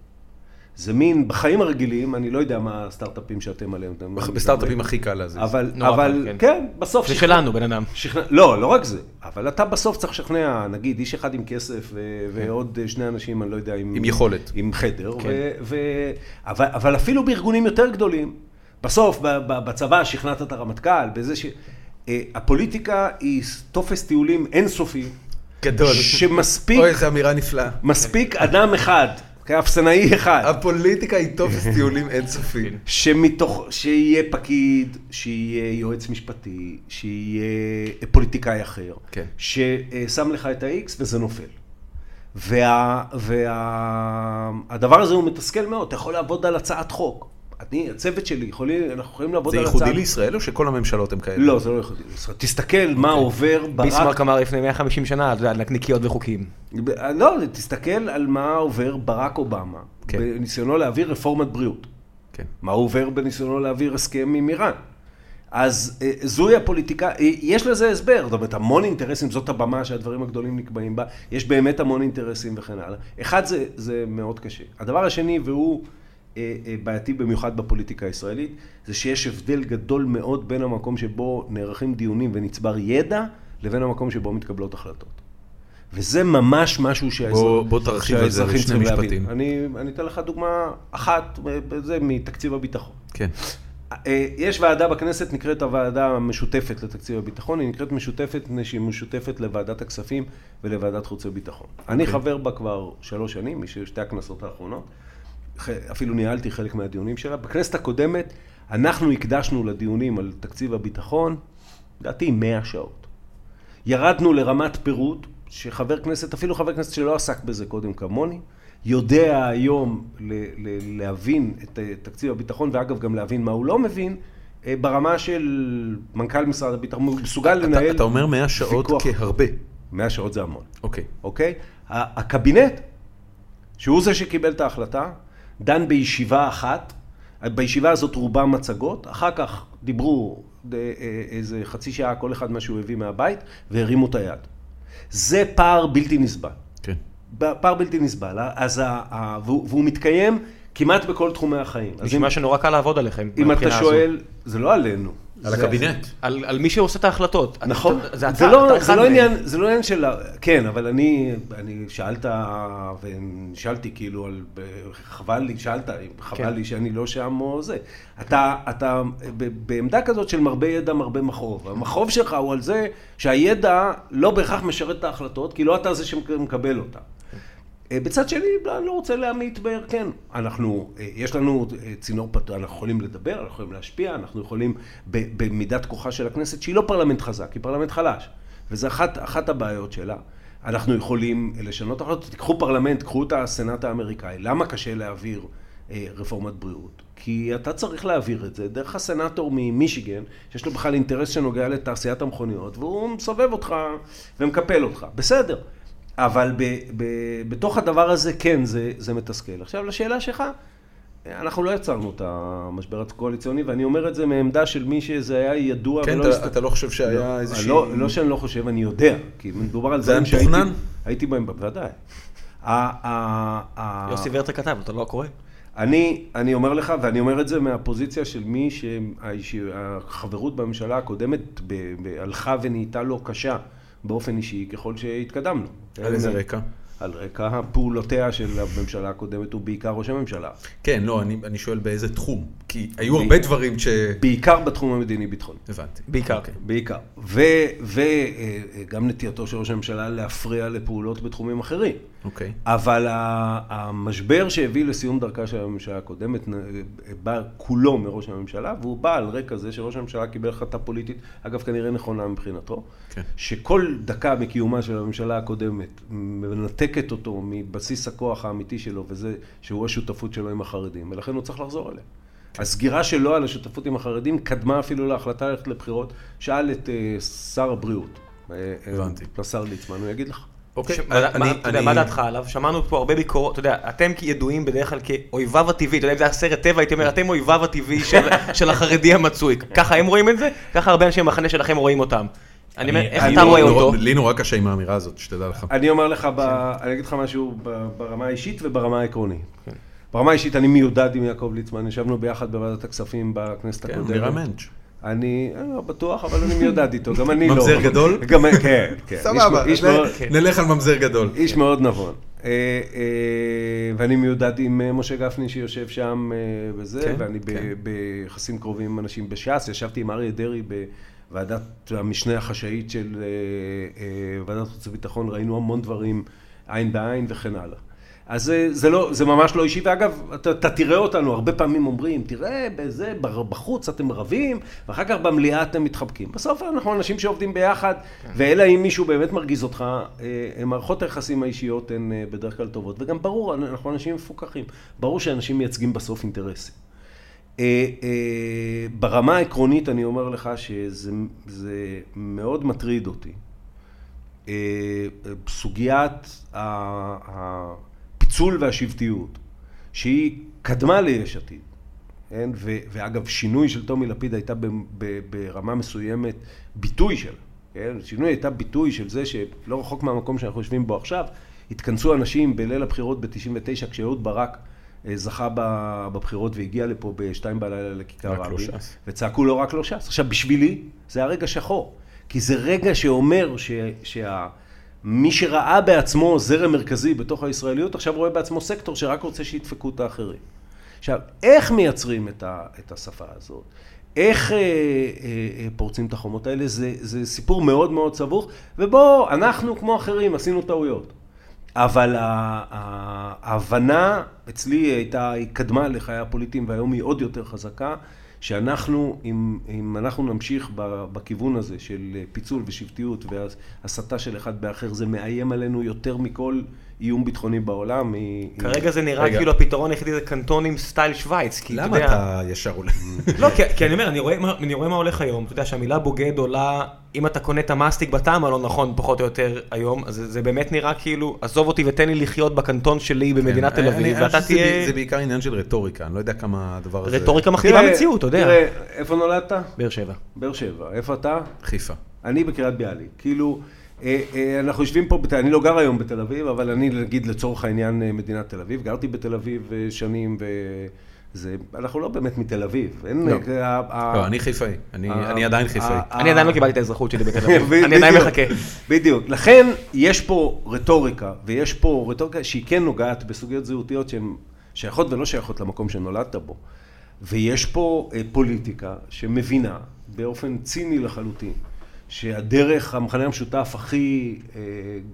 S3: זה מין, בחיים הרגילים, אני לא יודע מה הסטארט-אפים שאתם עליהם. אתם
S1: בח-
S3: מדברים.
S1: בסטארט-אפים הכי קל להזיז.
S3: נכון. אבל,
S2: נורא
S3: אבל,
S2: קל, כן.
S3: כן. כן, בסוף
S2: זה
S3: שכנע-
S2: שלנו, בן אדם.
S3: שכנע... לא, לא רק זה, אבל אתה בסוף צריך לשכנע, נגיד, איש אחד עם כסף ו... ועוד אה, שני אנשים, אני לא יודע, עם...
S1: עם יכולת.
S3: עם חדר.
S2: כן.
S3: ו... ו... אבל, אבל אפילו בארגונים יותר גדולים, בסוף, ב... ב... בצבא שכנעת את הרמטכ"ל, בזה ש... אה, הפוליטיקה היא טופס טיולים אינסופי,
S1: גדול.
S3: שמספיק
S1: אוי, איזו אמירה נפלאה.
S3: מספיק אדם אחד, כאפסנאי אחד,
S1: הפוליטיקה היא טופס
S3: כן.
S1: טיולים אינסופי.
S3: שמתוך, שיהיה פקיד, שיהיה יועץ משפטי, שיהיה פוליטיקאי אחר,
S1: כן.
S3: ששם לך את ה-X וזה נופל. והדבר וה, הדבר הזה הוא מתסכל מאוד, אתה יכול לעבוד על הצעת חוק. אני, הצוות שלי, יכולים, אנחנו יכולים לעבוד
S1: זה
S3: על הצעת...
S1: ייחודי לישראל או שכל הממשלות הן כאלה?
S3: לא, זה לא ייחודי לישראל. תסתכל מה
S1: אוקיי.
S3: עובר ברק...
S2: ביסמרק אמר לפני 150 שנה, אתה יודע, נקניקיות וחוקים.
S3: ב- לא, תסתכל על מה עובר ברק אובמה,
S1: כן.
S3: בניסיונו להעביר רפורמת בריאות.
S1: כן.
S3: מה הוא עובר בניסיונו להעביר הסכם עם איראן? אז אה, זוהי הפוליטיקה, אה, יש לזה הסבר, זאת אומרת המון אינטרסים, זאת הבמה שהדברים הגדולים נקבעים בה, יש באמת המון אינטרסים וכן הלאה. אחד זה, זה מאוד קשה. הדבר השני, והוא אה, אה, בעייתי במיוחד בפוליטיקה הישראלית, זה שיש הבדל גדול מאוד בין המקום שבו נערכים דיונים ונצבר ידע, לבין המקום שבו מתקבלות החלטות. וזה ממש משהו שהאזרח-
S1: בוא- בוא תרחיב על זה
S3: שהאזרחים
S1: בשני
S3: צריכים להבין.
S1: משפטים.
S3: אני, אני אתן לך דוגמה אחת, אה, זה מתקציב הביטחון.
S1: כן.
S3: אה, יש ועדה בכנסת, נקראת הוועדה המשותפת לתקציב הביטחון, היא נקראת משותפת מפני שהיא משותפת לוועדת הכספים ולוועדת חוץ וביטחון. אני
S1: אוקיי.
S3: חבר בה כבר שלוש שנים, מש- שתי הכנסות האחרונות, ח- אפילו ניהלתי חלק מהדיונים שלה. בכנסת הקודמת אנחנו הקדשנו לדיונים על תקציב הביטחון, לדעתי 100 שעות. ירדנו לרמת פירוט, שחבר כנסת, אפילו חבר כנסת שלא עסק בזה קודם כמוני, יודע היום ל- ל- להבין את אה, תקציב הביטחון, ואגב גם להבין מה הוא לא מבין, אה, ברמה של מנכ"ל משרד הביטחון, הוא מסוגל לנהל...
S1: אתה, אתה אומר 100 שעות
S3: ויכוח.
S1: כהרבה.
S3: 100 שעות זה המון.
S1: אוקיי.
S3: אוקיי? ה- הקבינט, שהוא זה שקיבל את ההחלטה, דן בישיבה אחת, בישיבה הזאת רובם מצגות, אחר כך דיברו אה, אה, איזה חצי שעה כל אחד מה שהוא הביא מהבית, והרימו את היד. זה פער בלתי נסבל.
S1: כן.
S3: פער בלתי נסבל, אז ה, ה, והוא, והוא מתקיים כמעט בכל תחומי החיים. אז אם,
S2: נשמע שנורא קל לעבוד עליכם.
S3: אם אתה
S2: מהבחינה הזו.
S3: שואל, זה לא עלינו.
S1: על
S3: זה-
S1: הקבינט.
S2: על על מי שעושה את ההחלטות.
S3: נכון,
S2: אתה-
S3: זה,
S2: אתה-
S3: לא,
S2: אתה
S3: זה,
S2: אחד
S3: לא
S2: מהם.
S3: עניין, זה לא עניין של, ה- כן, אבל אני, אני שאלת, ושאלתי כאילו, על, חבל לי, שאלת, חבל
S2: כן.
S3: לי שאני לא שם או זה. אתה, אתה ב- בעמדה כזאת של מרבה ידע, מרבה מחרוב. המחרוב שלך הוא על זה שהידע לא בהכרח משרת את ההחלטות, כי לא אתה זה שמקבל אותה. אה, בצד שני, לא, אני לא רוצה להמעיט בער, כן. אנחנו, אה, יש לנו אה, צינור פתוח, אנחנו יכולים לדבר, אנחנו יכולים להשפיע, אנחנו יכולים ב- במידת כוחה של הכנסת, שהיא לא פרלמנט חזק, היא פרלמנט חלש. וזו אחת, אחת הבעיות שלה. אנחנו יכולים אה, לשנות החלטות, תיקחו פרלמנט, קחו את הסנאט האמריקאי. למה קשה להעביר אה, רפורמת בריאות? כי אתה צריך להעביר את זה דרך הסנאטור ממישיגן, שיש לו בכלל אינטרס שנוגע לתעשיית המכוניות, והוא מסובב אותך ומקפל אותך. בסדר. אבל ב, ב, בתוך הדבר הזה, כן, זה, זה מתסכל. עכשיו, לשאלה שלך, אנחנו לא יצרנו את המשבר הקואליציוני, ואני אומר את זה מעמדה של מי שזה היה ידוע
S1: כן,
S3: ולא
S1: אתה,
S3: הסת-
S1: אתה לא חושב שהיה
S3: לא,
S1: איזושהי...
S3: לא, לא שאני לא חושב, אני יודע, כי מדובר על
S1: זה היה
S3: דברים שהייתי...
S1: מתוכנן?
S3: הייתי בהם, בוודאי. ה- ה- ה-
S2: יוסי ורטר כתב, אתה לא קורא?
S3: אני, אני אומר לך, ואני אומר את זה מהפוזיציה של מי שהחברות בממשלה הקודמת ב, ב, הלכה ונהייתה לו קשה באופן אישי ככל שהתקדמנו.
S1: על איזה רקע?
S3: על רקע פעולותיה של הממשלה הקודמת, ובעיקר ראש הממשלה.
S1: כן, לא, אני, אני שואל באיזה תחום. כי היו הרבה דברים ש...
S3: בעיקר בתחום המדיני-ביטחוני.
S1: הבנתי. אוקיי,
S2: בעיקר. כן.
S3: בעיקר. וגם אה, נטייתו של ראש הממשלה להפריע לפעולות בתחומים אחרים.
S1: אוקיי.
S3: אבל ה- המשבר שהביא לסיום דרכה של הממשלה הקודמת נ- אה, בא כולו מראש הממשלה, והוא בא על רקע זה שראש הממשלה קיבל החלטה פוליטית, אגב, כנראה נכונה מבחינתו,
S1: כן.
S3: שכל דקה מקיומה של הממשלה הקודמת מנתקת אותו מבסיס הכוח האמיתי שלו, וזה שהוא השותפות שלו עם החרדים, ולכן הוא צריך לחזור אליה. הסגירה שלו על השותפות עם החרדים קדמה אפילו להחלטה ללכת לבחירות. שאל את אה, שר הבריאות, אה, אה,
S1: הבנתי.
S3: השר ליצמן, הוא יגיד לך.
S1: אוקיי.
S2: ש-
S1: אני-
S2: מה- מה-
S1: אני-
S2: אתה יודע,
S1: אני-
S2: מה דעתך עליו? שמענו פה הרבה ביקורות, אתה יודע, אתם ידועים בדרך כלל כאויביו הטבעי, אתה יודע, אם זה היה סרט טבע, הייתי אומר, אתם אויביו הטבעי של- של החרדי המצוי. ככה הם רואים את זה, ככה הרבה אנשי המחנה שלכם רואים אותם. אני לא אומר, איך
S3: אני- לא-
S2: אתה
S1: נורא-
S2: רואה
S1: נורא-
S2: אותו?
S1: לי נורא קשה עם האמירה הזאת, שתדע לך.
S3: אני אומר לך, ב...
S1: כן.
S3: אני אגיד לך משהו ב- ברמה האישית וברמה העקרונית. ברמה האישית, אני מיודד עם יעקב ליצמן, ישבנו ביחד בוועדת הכספים בכנסת
S1: כן,
S3: הקודמת.
S1: הוא נראה מענץ'.
S3: אני אני לא בטוח, אבל אני מיודד איתו, גם אני לא.
S1: ממזר גדול?
S3: גם, כן, כן.
S1: סבבה,
S3: איש,
S1: נ-
S3: מ- איש,
S2: כן.
S3: מאוד,
S1: נלך על ממזר גדול.
S3: איש מאוד נבון. אה, אה, ואני מיודד עם אה, משה גפני שיושב שם אה, וזה,
S1: כן,
S3: ואני ב-
S1: כן.
S3: ביחסים קרובים עם אנשים בש"ס, ישבתי עם אריה דרעי בוועדת המשנה החשאית של אה, אה, ועדת חוץ וביטחון, ראינו המון דברים עין בעין וכן הלאה. אז זה, זה, לא, זה ממש לא אישי, ואגב, אתה, אתה תראה אותנו, הרבה פעמים אומרים, תראה, בזה, בר- בחוץ אתם רבים, ואחר כך במליאה אתם מתחבקים. בסוף אנחנו אנשים שעובדים ביחד,
S1: כן.
S3: ואלא אם מישהו באמת מרגיז אותך, אה, מערכות היחסים האישיות הן אה, בדרך כלל טובות, וגם ברור, אנחנו אנשים מפוקחים, ברור שאנשים מייצגים בסוף אינטרסים. אה, אה, ברמה העקרונית אני אומר לך שזה זה מאוד מטריד אותי. אה, אה, סוגיית ה- הפיצול והשבטיות, שהיא קדמה ליש עתיד. כן? ו- ואגב, שינוי של טומי לפיד הייתה ב- ב- ברמה מסוימת ביטוי שלה. כן? שינוי הייתה ביטוי של זה שלא רחוק מהמקום שאנחנו יושבים בו עכשיו, התכנסו אנשים בליל הבחירות ב-99 כשאהוד ברק אה, אה, זכה ב- בבחירות והגיע לפה בשתיים בלילה לכיכר
S1: רק לא
S3: רבין,
S1: ש"ס.
S3: וצעקו לו רק לא ש"ס. עכשיו, בשבילי זה הרגע שחור, כי זה רגע שאומר ש, שה... מי שראה בעצמו זרם מרכזי בתוך הישראליות, עכשיו רואה בעצמו סקטור שרק רוצה שידפקו את האחרים. עכשיו, איך מייצרים את, ה, את השפה הזאת? איך אה, אה, אה, פורצים את החומות האלה? זה, זה סיפור מאוד מאוד סבוך, ובואו, אנחנו כמו אחרים עשינו טעויות. אבל ה- ה- ההבנה אצלי הייתה, היא קדמה לחיי הפוליטיים והיום היא עוד יותר חזקה, שאנחנו, אם, אם אנחנו נמשיך ב- בכיוון הזה של פיצול ושבטיות והסתה של אחד באחר, זה מאיים עלינו יותר מכל איום ביטחוני בעולם. היא- היא-
S2: כרגע זה נראה
S1: רגע.
S2: כאילו הפתרון היחידי זה קנטונים סטייל שווייץ, כי אתה
S1: למה
S2: יודע...
S1: אתה ישר עולה?
S2: לא, כי, כי אני אומר, אני רואה, מה- אני רואה מה הולך היום, אתה יודע שהמילה בוגד עולה, אם אתה קונה את המאסטיק בטעם הלא נכון, פחות או יותר היום, אז זה, זה באמת נראה כאילו, עזוב אותי ותן לי לחיות בקנטון שלי במדינת תל
S1: אני- אני
S2: אביב,
S1: חושב
S2: ואתה
S1: שזה ב-
S2: תהיה...
S1: זה בעיקר עניין של רטוריקה, אני לא יודע כמה הדבר הזה...
S2: רטוריקה מכתיבה
S3: תראה,
S2: מציאות, אתה יודע.
S3: תראה, אה. איפה נולדת?
S2: באר שבע.
S3: באר שבע. איפה אתה?
S1: חיפה.
S3: אני בקריית ביאליק. כאילו, אה, אה, אנחנו יושבים פה, בת- אני לא גר היום בתל אביב, אבל אני, נגיד, לצורך העניין, אה, מדינת תל אביב. גרתי בתל אביב אה, שנים, וזה, אנחנו לא באמת מתל אביב. אין...
S1: לא.
S3: אה, ה-
S1: לא, אני חיפאי, אני
S3: ה-
S1: אני עדיין חיפאי.
S3: ה-
S2: אני
S3: ה-
S2: עדיין לא קיבלתי את האזרחות שלי בתל אביב,
S3: בדיוק,
S2: אני עדיין מחכה.
S3: בדיוק. לכן, יש פה רטוריקה, ויש פה רטוריקה שהיא כן נוגעת בסוגיות זהותיות שהן שייכות ולא שייכות למקום שנולדת בו. ויש פה אה, פוליטיקה שמבינה באופן ציני לחלוטין, שהדרך, המכנה המשותף הכי אה,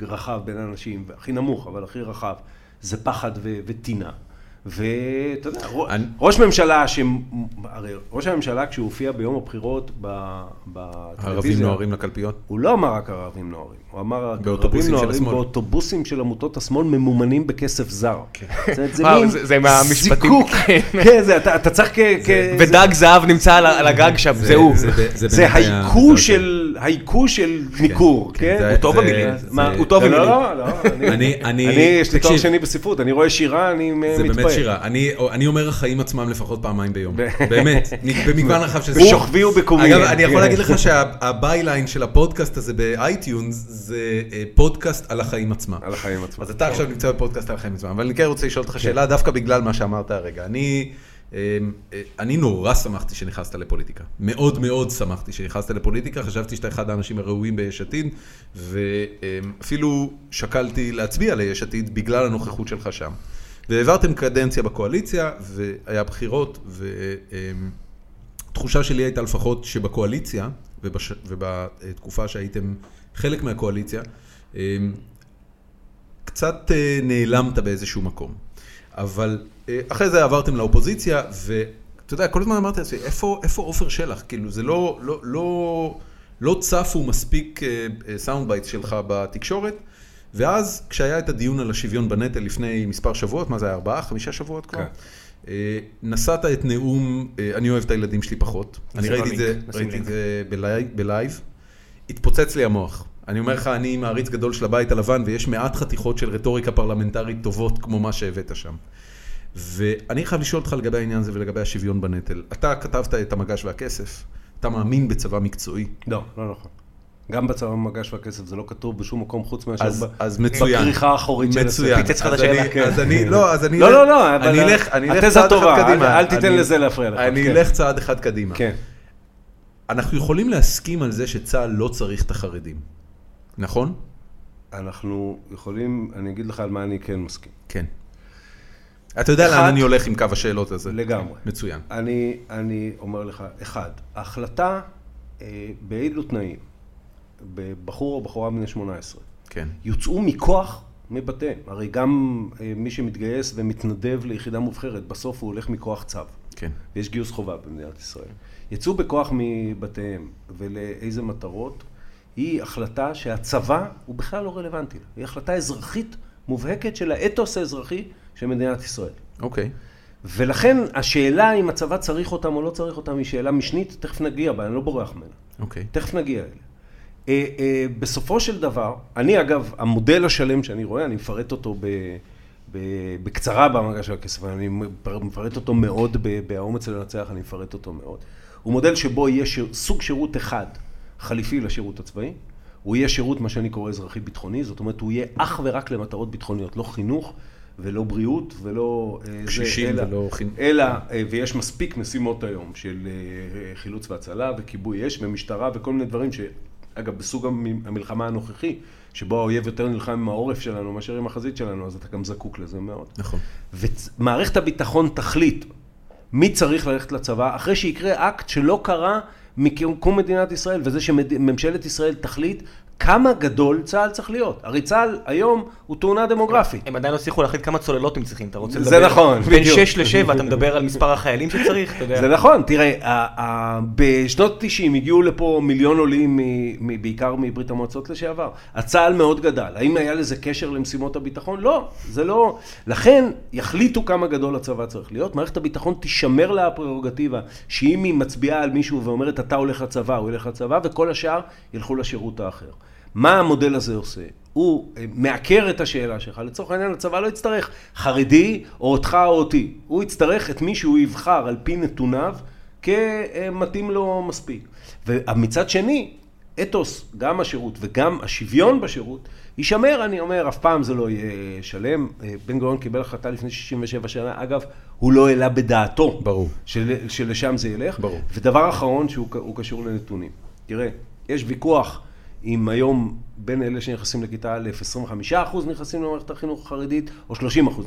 S3: רחב בין האנשים, הכי נמוך, אבל הכי רחב, זה פחד ו- וטינה. ואתה יודע, רו-
S1: אני-
S3: ראש ממשלה, ש... הרי ראש הממשלה כשהוא הופיע ביום הבחירות ב- בטלוויזיה,
S1: ערבים נוהרים לקלפיות.
S3: הוא לא אמר רק ערבים נוהרים, הוא אמר רק
S1: באוטובוסים
S3: ערבים
S1: של
S3: נוהרים
S1: השמאל.
S3: באוטובוסים של עמותות השמאל ממומנים בכסף זר.
S1: כן.
S3: זאת אומרת,
S2: וואו, זה- זה מהמשפטים.
S3: זיקוק. כן, זה- אתה אתה צריך כ... כ- כן, זה-
S2: ודג זהב נמצא על ה- על הגג שם, זה הוא.
S1: ב-
S3: זה
S1: באמת היה-
S3: הייקו
S1: זה-
S3: של, הייקו של ניכור,
S1: כן,
S3: כן?
S1: זה-
S2: הוא טוב
S1: זה-
S2: במילים.
S1: זה-
S3: מה,
S1: זה-
S3: הוא טוב
S1: לא,
S3: במילים.
S1: לא,
S3: לא, לא, אני,
S1: אני- אני-
S3: אני, יש לי תואר
S1: תקשיב.
S3: שני בספרות, אני רואה שירה, אני אה, מתפעל.
S1: זה באמת שירה. אני, אני אומר החיים עצמם לפחות פעמיים ביום. באמת, מ- במגוון רחב של...
S3: בשוכבי ובקומי.
S1: אגב, אני יכול
S3: כן.
S1: להגיד לך שהביי-ליין של הפודקאסט הזה באייטיונס זה אה, פודקאסט על החיים עצמם.
S3: על החיים עצמם.
S1: אז אתה עכשיו נמצא בפודקאסט על החיים עצמם, אבל אני כן רוצה לשאול אותך שאלה דווקא בגלל מה שאמרת הרגע. אני... אמ, אה, אני נורא שמחתי שנכנסת לפוליטיקה. מאוד מאוד שמחתי שנכנסת לפוליטיקה, חשבתי שאתה אחד האנשים הראויים ביש עתיד, ואפילו שקלתי להצביע ליש עתיד בגלל הנוכחות שלך שם. והעברתם קדנציה בקואליציה, והיה בחירות, ו... התחושה שלי הייתה לפחות שבקואליציה, ובש... ובתקופה שהייתם חלק מהקואליציה, אמ, קצת אה, נעלמת באיזשהו מקום. אבל אה, אחרי זה עברתם לאופוזיציה, ואתה יודע, כל הזמן אמרתי לעצמי, איפה איפה עופר שלח? כאילו, זה לא, לא, לא, לא צפו מספיק אה, אה, סאונד בייטס שלך בתקשורת. ואז כשהיה את הדיון על השוויון בנטל לפני מספר שבועות, מה זה היה, ארבעה, חמישה שבועות כבר?
S3: כן.
S1: אה, נשאת את נאום, אה, אני אוהב את הילדים שלי פחות. אני
S2: נשים
S1: ראיתי את
S2: לינק,
S1: זה,
S2: נשים
S1: ראיתי את
S2: לינק.
S1: זה בלייב, בלייב. התפוצץ לי המוח. אני אומר לך, אני מעריץ גדול של הבית הלבן, ויש מעט חתיכות של רטוריקה פרלמנטרית טובות כמו מה שהבאת שם. ואני חייב לשאול אותך לגבי העניין הזה ולגבי השוויון בנטל. אתה כתבת את המגש והכסף, אתה מאמין בצבא מקצועי.
S3: לא, לא נכון. גם בצבא המגש והכסף זה לא כתוב בשום מקום חוץ מאשר
S1: אז,
S3: ב-
S1: אז מצוין.
S3: בכריכה האחורית של
S1: מצוין.
S3: הספר.
S2: פיצץ לך את
S1: אז
S2: השאלה.
S1: אני-
S3: כן.
S1: אז אני, לא, אז אני...
S3: לא,
S1: אלך-
S3: לא, לא, אבל
S1: אני
S3: ה-
S1: אלך, אני אלך
S3: התזה
S1: צעד
S3: טובה,
S1: אחד
S3: אל-
S1: קדימה.
S3: אל תיתן
S1: אני-
S3: לזה להפריע לך,
S1: אני
S3: כן.
S1: אלך צעד אחד קדימה.
S3: כן.
S1: אנחנו יכולים להסכים על זה שצה"ל לא צריך את החרדים, נכון?
S3: אנחנו יכולים, אני אגיד לך על מה אני כן מסכים.
S1: כן. אתה יודע
S3: אחד-
S1: לאן אני הולך עם קו השאלות הזה.
S3: לגמרי.
S1: מצוין.
S3: אני, אני אומר לך, אחד, ההחלטה אה, באילו תנאים, בבחור או בחורה בני 18,
S1: כן.
S3: יוצאו מכוח מבתיהם. הרי גם אה, מי שמתגייס ומתנדב ליחידה מובחרת, בסוף הוא הולך מכוח צו.
S1: כן.
S3: ויש גיוס חובה במדינת ישראל. יצאו בכוח מבתיהם ולאיזה מטרות, היא החלטה שהצבא הוא בכלל לא רלוונטי. לה. היא החלטה אזרחית מובהקת של האתוס האזרחי של מדינת ישראל.
S1: אוקיי.
S3: ולכן השאלה אם הצבא צריך אותם או לא צריך אותם היא שאלה משנית, תכף נגיע בה, אני לא בורח ממנה.
S1: אוקיי.
S3: תכף נגיע אליה. אה, אה, בסופו של דבר, אני אגב, המודל השלם שאני רואה, אני מפרט אותו ב, ב, בקצרה במגע של הכסף, אבל אני מפר- מפרט אותו מאוד ב- ב"האומץ לנצח", אני מפרט אותו מאוד. הוא מודל שבו יהיה שיר, סוג שירות אחד חליפי לשירות הצבאי, הוא יהיה שירות, מה שאני קורא אזרחי-ביטחוני, זאת אומרת, הוא יהיה אך ורק למטרות ביטחוניות, לא חינוך ולא בריאות, ולא... אה, זה,
S1: קשישים
S3: אלא-
S1: ולא חינוך.
S3: אלא, אה, ויש מספיק משימות היום של אה, חילוץ והצלה וכיבוי אש ומשטרה וכל מיני דברים ש... אגב, בסוג המ- המלחמה הנוכחי, שבו האויב יותר נלחם עם העורף שלנו מאשר עם החזית שלנו, אז אתה גם זקוק לזה מאוד.
S1: נכון.
S3: ומערכת הביטחון תחליט מי צריך ללכת לצבא, אחרי שיקרה אקט שלא קרה מקום מדינת ישראל, וזה שממשלת ישראל תחליט כמה גדול צה"ל צריך להיות. הרי צה"ל היום הוא תאונה דמוגרפית.
S2: הם עדיין לא הצליחו להחליט כמה צוללות הם צריכים, אתה רוצה לדבר?
S3: זה נכון,
S2: בין
S3: בדיוק.
S2: 6 ל-7 אתה מדבר על מספר החיילים שצריך, אתה יודע.
S3: זה נכון, תראה, ה- ה- בשנות 90 הגיעו לפה מיליון עולים, מ- מ- בעיקר מברית המועצות לשעבר. הצה"ל מאוד גדל. האם היה לזה קשר למשימות הביטחון? לא, זה לא... לכן, יחליטו כמה גדול הצבא צריך להיות. מערכת הביטחון תישמר לה הפררוגטיבה, שאם היא מצביעה על מישהו ואומרת, אתה הולך לצבא, הוא ילך לצבא, וכל השאר ילכו לשירות האחר. מה המודל הזה עושה? הוא אה, מעקר את השאלה שלך. לצורך העניין, הצבא לא יצטרך חרדי, או אותך או אותי. הוא יצטרך את מי שהוא יבחר על פי נתוניו, כמתאים לו מספיק. ומצד שני, אתוס, גם השירות וגם השוויון בשירות, יישמר, אני אומר, אף פעם זה לא יהיה שלם. אה, בן גוריון קיבל החלטה לפני 67 שנה, אגב, הוא לא העלה בדעתו.
S1: ברור.
S3: של, שלשם זה ילך.
S1: ברור.
S3: ודבר אחרון שהוא ק- הוא קשור לנתונים. תראה, יש ויכוח אם היום בין אלה שנכנסים לכיתה א', 25% נכנסים למערכת החינוך החרדית, או 30%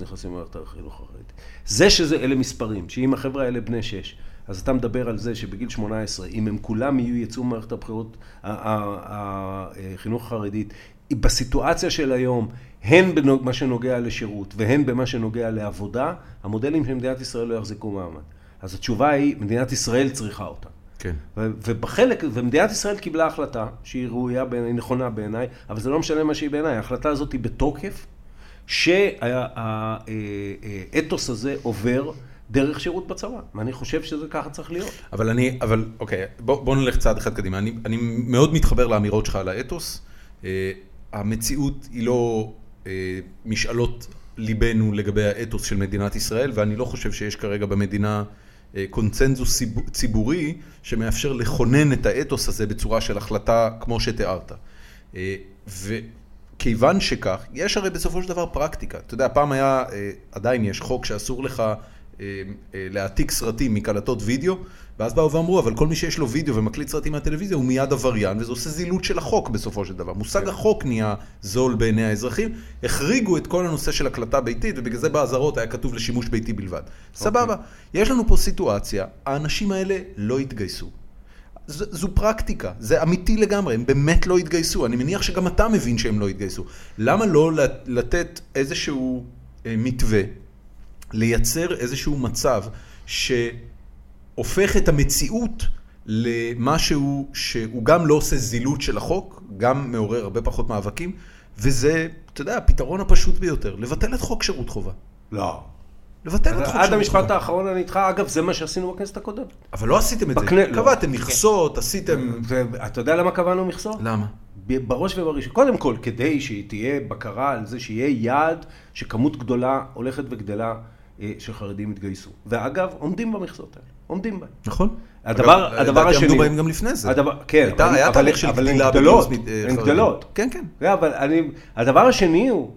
S3: נכנסים למערכת החינוך החרדית. זה שזה, אלה מספרים, שאם החבר'ה האלה בני 6, אז אתה מדבר על זה שבגיל 18, אם הם כולם יהיו יצאו ממערכת הבחירות, ה- ה- ה- החינוך החרדית, בסיטואציה של היום, הן במה שנוגע לשירות והן במה שנוגע לעבודה, המודלים של מדינת ישראל לא יחזיקו מעמד. אז התשובה היא, מדינת ישראל צריכה אותה.
S1: כן.
S3: ו- ובחלק, ומדינת ישראל קיבלה החלטה, שהיא ראויה, בעיני, נכונה בעיניי, אבל זה לא משנה מה שהיא בעיניי, ההחלטה הזאת היא בתוקף, שהאתוס אה, הזה עובר דרך שירות בצבא, ואני חושב שזה ככה צריך להיות.
S1: אבל אני, אבל אוקיי, בוא, בוא נלך צעד אחד קדימה. אני, אני מאוד מתחבר לאמירות שלך על האתוס. אה, המציאות היא לא אה, משאלות ליבנו לגבי האתוס של מדינת ישראל, ואני לא חושב שיש כרגע במדינה אה, קונצנזוס ציב- ציבורי שמאפשר לכונן את האתוס הזה בצורה של החלטה כמו שתיארת. אה, וכיוון שכך, יש הרי בסופו של דבר פרקטיקה. אתה יודע, פעם היה, אה, עדיין יש חוק שאסור לך אה, אה, להעתיק סרטים מקלטות וידאו, ואז באו ואמרו, אבל כל מי שיש לו וידאו ומקליט סרטים מהטלוויזיה הוא מיד עבריין, וזה עושה זילות של החוק בסופו של דבר. מושג החוק נהיה זול בעיני האזרחים, החריגו את כל הנושא של הקלטה ביתית, ובגלל זה באזהרות היה כתוב לשימוש ביתי בלבד. סבבה, יש לנו פה סיטואציה, האנשים האלה לא התגייסו. ז- זו פרקטיקה, זה אמיתי לגמרי, הם באמת לא התגייסו, אני מניח שגם אתה מבין שהם לא התגייסו. למה לא לת- לתת איזשהו אה, מתווה, לייצר איזשהו מצב שהופך את המציאות למשהו שהוא גם לא עושה זילות של החוק, גם מעורר הרבה פחות מאבקים, וזה, אתה יודע, הפתרון הפשוט ביותר, לבטל את חוק שירות חובה.
S3: לא.
S1: לבטל את חוק שירות חובה.
S3: עד המשפט האחרון אני איתך, אגב, זה מה שעשינו בכנסת הקודמת.
S1: אבל לא עשיתם את
S3: בקנה-
S1: זה.
S3: לא.
S1: קבעתם מכסות, עשיתם...
S3: ואתה יודע למה קבענו מכסות?
S1: למה?
S3: ב- בראש ובראשון, קודם כל, כדי שתהיה בקרה על זה שיהיה יעד שכמות גדולה הולכת וגדלה אה, של חרדים יתגייסו. ואגב, עומדים במכסות האלה, עומדים בהן.
S1: נכון.
S3: הדבר,
S1: אגב,
S3: הדבר
S1: לדעתי
S3: השני...
S1: עמדו בהם גם לפני זה.
S3: הדבר, כן,
S1: הייתה-
S3: אבל-
S1: היה
S3: אבל-
S1: תהליך של
S3: אבל הן
S1: גדילה
S3: גדלות,
S1: בגיוס מד- אה,
S3: הן
S1: חרדים.
S3: גדלות.
S1: כן, כן.
S3: כן, אבל אני, הדבר השני הוא,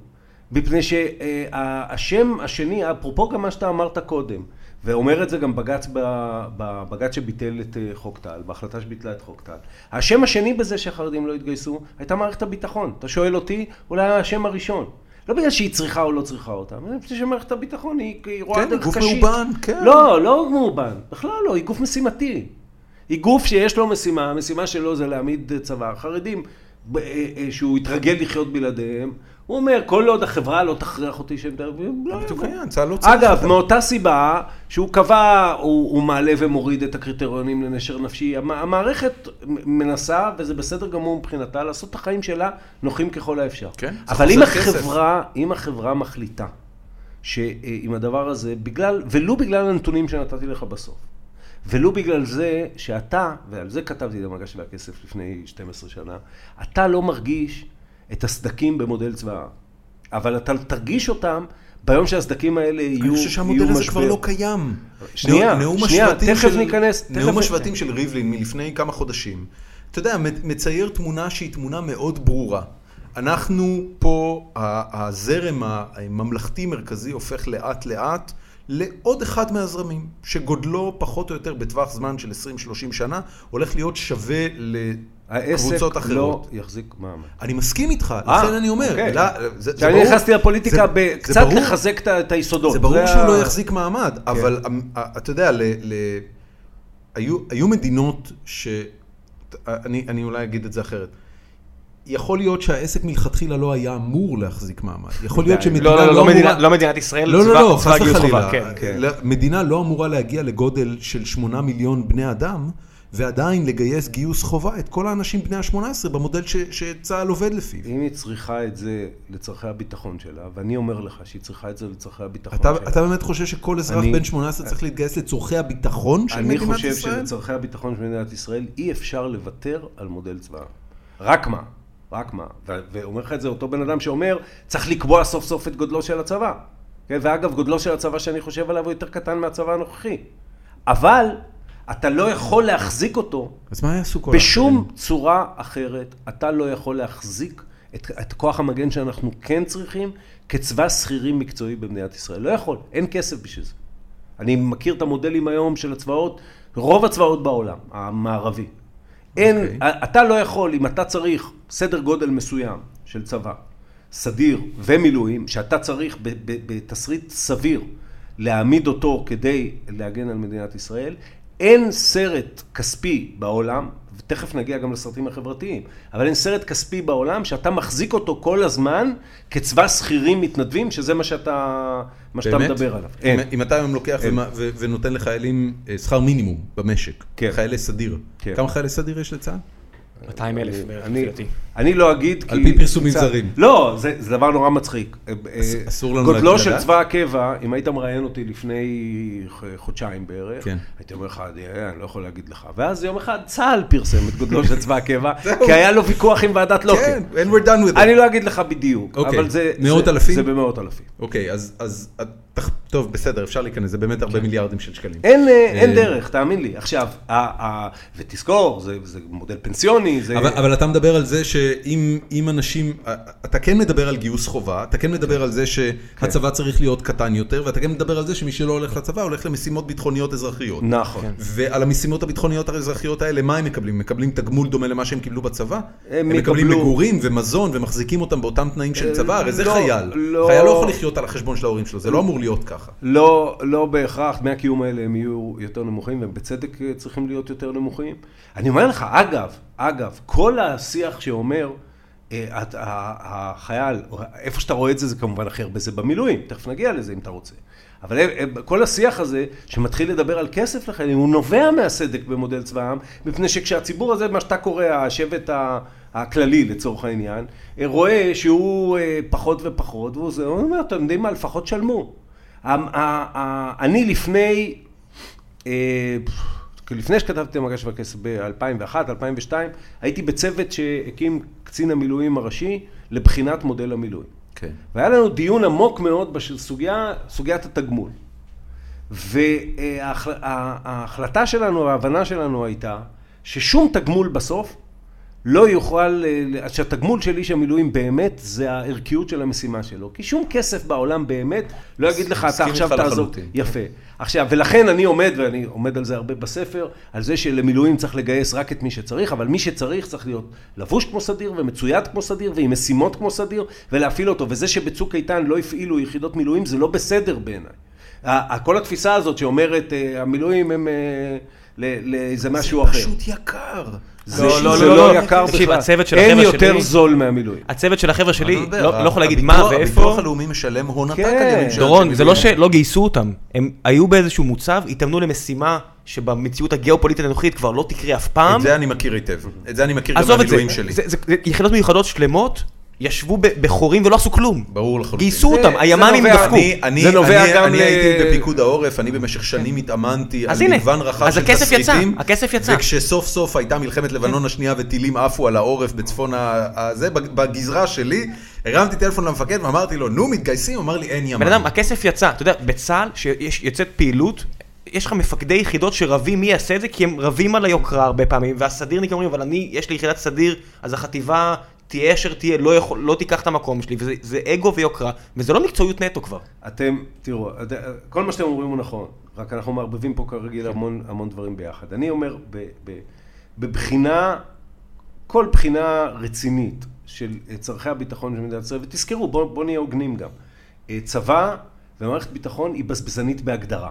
S3: מפני שהשם השני, אפרופו גם מה שאתה אמרת קודם, ואומר את זה גם בג"ץ, ב- בבג"ץ שביטל את אה, חוק טל, בהחלטה שביטלה את חוק טל. השם השני בזה שהחרדים לא התגייסו, הייתה מערכת הביטחון. אתה שואל אותי, אולי השם הראשון. לא בגלל שהיא צריכה או לא צריכה אותם, אלא מפני שמערכת הביטחון היא היא רואה
S1: כן,
S3: דרך
S1: גוף
S3: קשית.
S1: מאובן, כן.
S3: לא, לא מאובן, בכלל לא, היא גוף משימתי. היא גוף שיש לו משימה, המשימה שלו זה להעמיד צבא. חרדים, ב- אה, אה, שהוא התרגל לחיות בלעדיהם, הוא אומר, כל עוד החברה לא תכריח אותי שהם... לא
S1: בדיוק
S3: יעבור."
S1: העניין, צה"ל לא צריך
S3: אגב,
S1: אותם.
S3: מאותה סיבה שהוא קבע, הוא, הוא מעלה ומוריד את הקריטריונים לנשר נפשי. המ- המערכת מנסה, וזה בסדר גמור מבחינתה, לעשות את החיים שלה נוחים ככל האפשר.
S1: כן, זה
S3: אבל אם
S1: חוסך כסף.
S3: החברה, אם החברה מחליטה שעם הדבר הזה, בגלל, ולו בגלל הנתונים שנתתי לך בסוף, ולו בגלל זה שאתה, ועל זה כתבתי את המגש והכסף לפני 12 שנה, אתה לא מרגיש את הסדקים במודל צבא העם. אבל אתה תרגיש אותם ביום שהסדקים האלה יהיו
S1: אני
S3: יהיו משבר.
S1: חושב שהמודל הזה כבר לא קיים.
S3: שנייה,
S1: נאום
S3: שנייה,
S1: השבטים
S3: תכף
S1: של-
S3: ניכנס, תכף
S1: נאום
S3: ניכנס.
S1: השבטים של ריבלין מלפני כמה חודשים, אתה יודע, מ- מצייר תמונה שהיא תמונה מאוד ברורה. אנחנו פה, ה- הזרם הממלכתי-מרכזי הופך לאט-לאט לעוד אחד מהזרמים, שגודלו פחות או יותר בטווח זמן של 20-30 שנה, הולך להיות שווה לקבוצות
S3: העסק
S1: אחרות.
S3: לא יחזיק מעמד.
S1: אני מסכים איתך,
S3: אה,
S1: לכן אני אומר.
S3: אוקיי.
S1: לא, זה- זה
S3: שאני
S1: ברור-
S3: נכנסתי לפוליטיקה
S1: זה-
S3: ב-
S1: זה
S3: קצת
S1: ברור-
S3: לחזק את ה- את היסודות.
S1: זה ברור שהוא
S3: ה-
S1: לא יחזיק מעמד,
S2: כן.
S1: אבל אמ, א- אתה יודע, ל- ל- היו היו מדינות ש... ת- אני אני אולי אגיד את זה אחרת. יכול להיות שהעסק מלכתחילה לא היה אמור להחזיק מעמד. יכול להיות
S3: די.
S1: שמדינה
S2: לא, לא, לא, לא,
S1: אמורה...
S2: מדינה- לא מדינת ישראל,
S1: לא, לא,
S2: צבא-
S1: לא,
S2: צבא
S1: חס
S2: גיוס
S1: וחלילה.
S2: חובה, כן, כן.
S1: לא, מדינה לא אמורה להגיע לגודל של 8 מיליון בני אדם, ועדיין לגייס גיוס חובה את כל האנשים בני ה-18 במודל ש- שצה"ל עובד לפיו.
S3: אם היא צריכה את זה לצורכי הביטחון שלה, ואני אומר לך שהיא צריכה את זה לצורכי הביטחון
S1: אתה,
S3: שלה.
S1: אתה באמת חושב שכל אזרח
S3: אני-
S1: בן 18 צריך להתגייס לצורכי הביטחון של
S3: אני
S1: מדינת
S3: חושב
S1: ישראל?
S3: שלצורכי הביטחון של מדינת ישראל אי אפשר לוותר על מודל צבא העם. רק מה? רק מה? ו- ואומר לך את זה אותו בן אדם שאומר, צריך לקבוע סוף סוף את גודלו של הצבא. כן, ואגב, גודלו של הצבא שאני חושב עליו הוא יותר קטן מהצבא הנוכחי. אבל אתה לא יכול להחזיק אותו
S1: אז מה יעשו כל
S3: בשום צורה אחרת אתה לא יכול להחזיק את, את כוח המגן שאנחנו כן צריכים כצבא שכירים מקצועי במדינת ישראל. לא יכול, אין כסף בשביל זה. אני מכיר את המודלים היום של הצבאות, רוב הצבאות בעולם, המערבי. אין,
S1: אוקיי.
S3: אתה לא יכול, אם אתה צריך סדר גודל מסוים של צבא, סדיר ומילואים, שאתה צריך ב- ב- בתסריט סביר להעמיד אותו כדי להגן על מדינת ישראל, אין סרט כספי בעולם, ותכף נגיע גם לסרטים החברתיים, אבל אין סרט כספי בעולם שאתה מחזיק אותו כל הזמן כצבא שכירים מתנדבים, שזה מה שאתה, מה שאתה
S1: באמת?
S3: מדבר עליו.
S1: אם,
S3: אין.
S1: אם אתה היום לוקח
S3: אין.
S1: ומה- ו- ונותן לחיילים אה, שכר מינימום במשק,
S3: כן.
S1: חיילי סדיר,
S3: כן.
S1: כמה חיילי סדיר יש לצה"ל?
S2: 200 אלף בערך,
S3: אה, אני-
S2: לפי דעתי.
S3: אני לא אגיד כי...
S1: על פי פרסומים
S3: צה-
S1: זרים.
S3: לא, זה זה דבר נורא מצחיק.
S1: אס-
S3: אה,
S1: אסור לנו
S3: גודלו
S1: להגיד
S3: של
S1: לדעת?
S3: צבא הקבע, אם היית מראיין אותי לפני ח- חודשיים בערך,
S1: כן.
S3: הייתי אומר לך, "אני- אה, אני לא יכול להגיד לך. ואז יום אחד צה"ל פרסם את גודלו של צבא הקבע,
S1: זהו.
S3: כי היה לו ויכוח עם ועדת לוקר.
S1: כן, and we're done with it.
S3: לא, אני לא אגיד לך בדיוק,
S1: אוקיי.
S3: אבל זה...
S1: מאות
S3: זה-
S1: אלפים?
S3: זה במאות אלפים.
S1: אוקיי, אז, אז אה, תח- טוב, בסדר, אפשר להיכנס, זה באמת הרבה מיליארדים של שקלים.
S3: כן. אין, אה, אין
S1: אה,
S3: דרך, תאמין לי. עכשיו, ה- ה- ותזכור, זה זה מודל פנסיוני, זה...
S1: אבל, אבל אתה מדבר על זה שאם אם אנשים, אתה כן מדבר על גיוס חובה, אתה כן מדבר על זה שהצבא צריך להיות קטן יותר, ואתה כן מדבר על זה שמי שלא הולך לצבא הולך למשימות ביטחוניות אזרחיות.
S3: נכון.
S2: כן.
S1: ועל המשימות הביטחוניות האזרחיות האלה, מה הם מקבלים? הם מקבלים תגמול דומה למה שהם קיבלו בצבא? הם מקבלים
S3: יקבלו-
S1: מגורים ומזון ומחזיקים אותם באותם תנאים של
S3: אה,
S1: צבא? הרי זה
S3: לא,
S1: חייל.
S3: לא.
S1: חייל לא יכול לחיות על החשבון של ההורים שלו, זה לא אמור להיות ככה.
S3: לא, לא בהכרח, דמי הקיום האלה הם יהיו יותר נמוכים, והם בצדק אה, צריכים להיות יותר נמוכים. אני אומר לך, אגב, אגב, כל השיח שאומר, אה, הת- ה- ה- החייל, או איפה שאתה רואה את זה, זה כמובן הכי הרבה זה במילואים, תכף נגיע לזה אם אתה רוצה. אבל אה, אה, כל השיח הזה, שמתחיל לדבר על כסף לחיילים, הוא נובע מהסדק במודל צבא העם, מפני שכשהציבור הזה, מה שאתה קורא, השבט ה... הכללי לצורך העניין, אה, רואה שהוא אה, פחות ופחות, והוא זה, הוא אומר, אתם יודעים מה, לפחות שלמו. המ- ה- ה- אני לפני, אה, פ- לפני שכתבתי את מגש והכסף ב-2001-2002, הייתי בצוות שהקים קצין המילואים הראשי לבחינת מודל המילואים.
S1: כן.
S3: והיה לנו דיון עמוק מאוד בסוגיה, סוגיית התגמול. וההחלטה שלנו, ההבנה שלנו הייתה ששום תגמול בסוף לא יוכל, אה, שהתגמול של איש המילואים באמת זה הערכיות של המשימה שלו. כי שום כסף בעולם באמת לא יגיד לך, אתה
S1: מסכים
S3: עכשיו
S1: איתך
S3: תעזוב.
S1: לחלוטין.
S3: יפה. עכשיו, ולכן אני עומד, ואני עומד על זה הרבה בספר, על זה שלמילואים צריך לגייס רק את מי שצריך, אבל מי שצריך צריך להיות לבוש כמו סדיר ומצויד כמו סדיר ועם משימות כמו סדיר, ולהפעיל אותו. וזה שבצוק איתן לא הפעילו יחידות מילואים זה לא בסדר בעיניי. ה- ה- כל התפיסה הזאת שאומרת, אה, המילואים הם... אה, ל- לאיזה משהו אחר.
S1: פשוט יקר.
S3: זה-
S2: לא, לא,
S3: זה
S2: לא,
S3: לא
S2: לא.
S3: יקר
S2: תקשיב,
S3: בכלל.
S2: הצוות של
S3: אין
S2: החבר'ה
S3: יותר
S2: שלי-
S3: זול מהמילואים.
S2: הצוות של החבר'ה שלי,
S1: אני יודע,
S2: לא לא יכול להגיד מה
S1: הביטוח-
S2: ואיפה.
S1: הביטוח הלאומי משלם הון עתק
S3: כן.
S1: על ימים של
S2: דורון,
S1: אנשי
S2: זה לא
S1: מילואים.
S2: שלא גייסו אותם, הם היו באיזשהו מוצב, התאמנו למשימה שבמציאות הגיאופוליטית הנוכחית כבר לא תקרה אף פעם.
S1: את זה אני מכיר היטב. את זה אני מכיר גם
S2: עזוב את זה,
S1: מהמילואים שלי.
S2: זה- זה- זה יחידות מיוחדות שלמות, ישבו ב- בחורים ולא עשו כלום.
S1: ברור לחלוטין.
S2: גייסו
S3: זה-
S2: אותם,
S3: זה
S2: הימ"מים
S3: נובע-
S2: דפקו.
S1: אני, אני,
S3: זה נובע
S1: אני,
S3: גם
S1: אני
S3: ל-
S1: הייתי בפיקוד העורף, אני במשך שנים התאמנתי על
S2: אז הנה,
S1: מגוון רחב
S2: אז
S1: של
S2: הכסף יצא,
S1: תסריטים,
S2: הכסף יצא. כן.
S1: וכשסוף סוף הייתה מלחמת לבנון השנייה וטילים עפו על העורף בצפון ה- הזה, בג- בגזרה שלי, הרמתי טלפון למפקד ואמרתי לו, נו, מתגייסים? הוא אמר לי, אין ימ"מ.
S2: בן אדם, הכסף יצא, אתה יודע, בצה"ל, שיוצאת פעילות, יש לך מפקדי יחידות שרבים מי יעשה את זה, כי הם רבים על היוקרה הרבה פעמים, והסדירניקים אומרים, אבל אני, יש לי יחידת סדיר, אז החטיבה תהיה אשר תהיה, לא, יכול, לא תיקח את המקום שלי, וזה זה אגו ויוקרה, וזה לא מקצועיות נטו כבר.
S3: אתם, תראו, את- כל מה שאתם אומרים הוא נכון, רק אנחנו מערבבים פה כרגיל
S2: כן.
S3: המון, המון דברים ביחד. אני אומר, ב, ב, בבחינה, כל בחינה רצינית של אה, צורכי הביטחון של מדינת ישראל, ותזכרו, בואו בוא נהיה הוגנים גם. אה, צבא ומערכת ביטחון היא בזבזנית בהגדרה.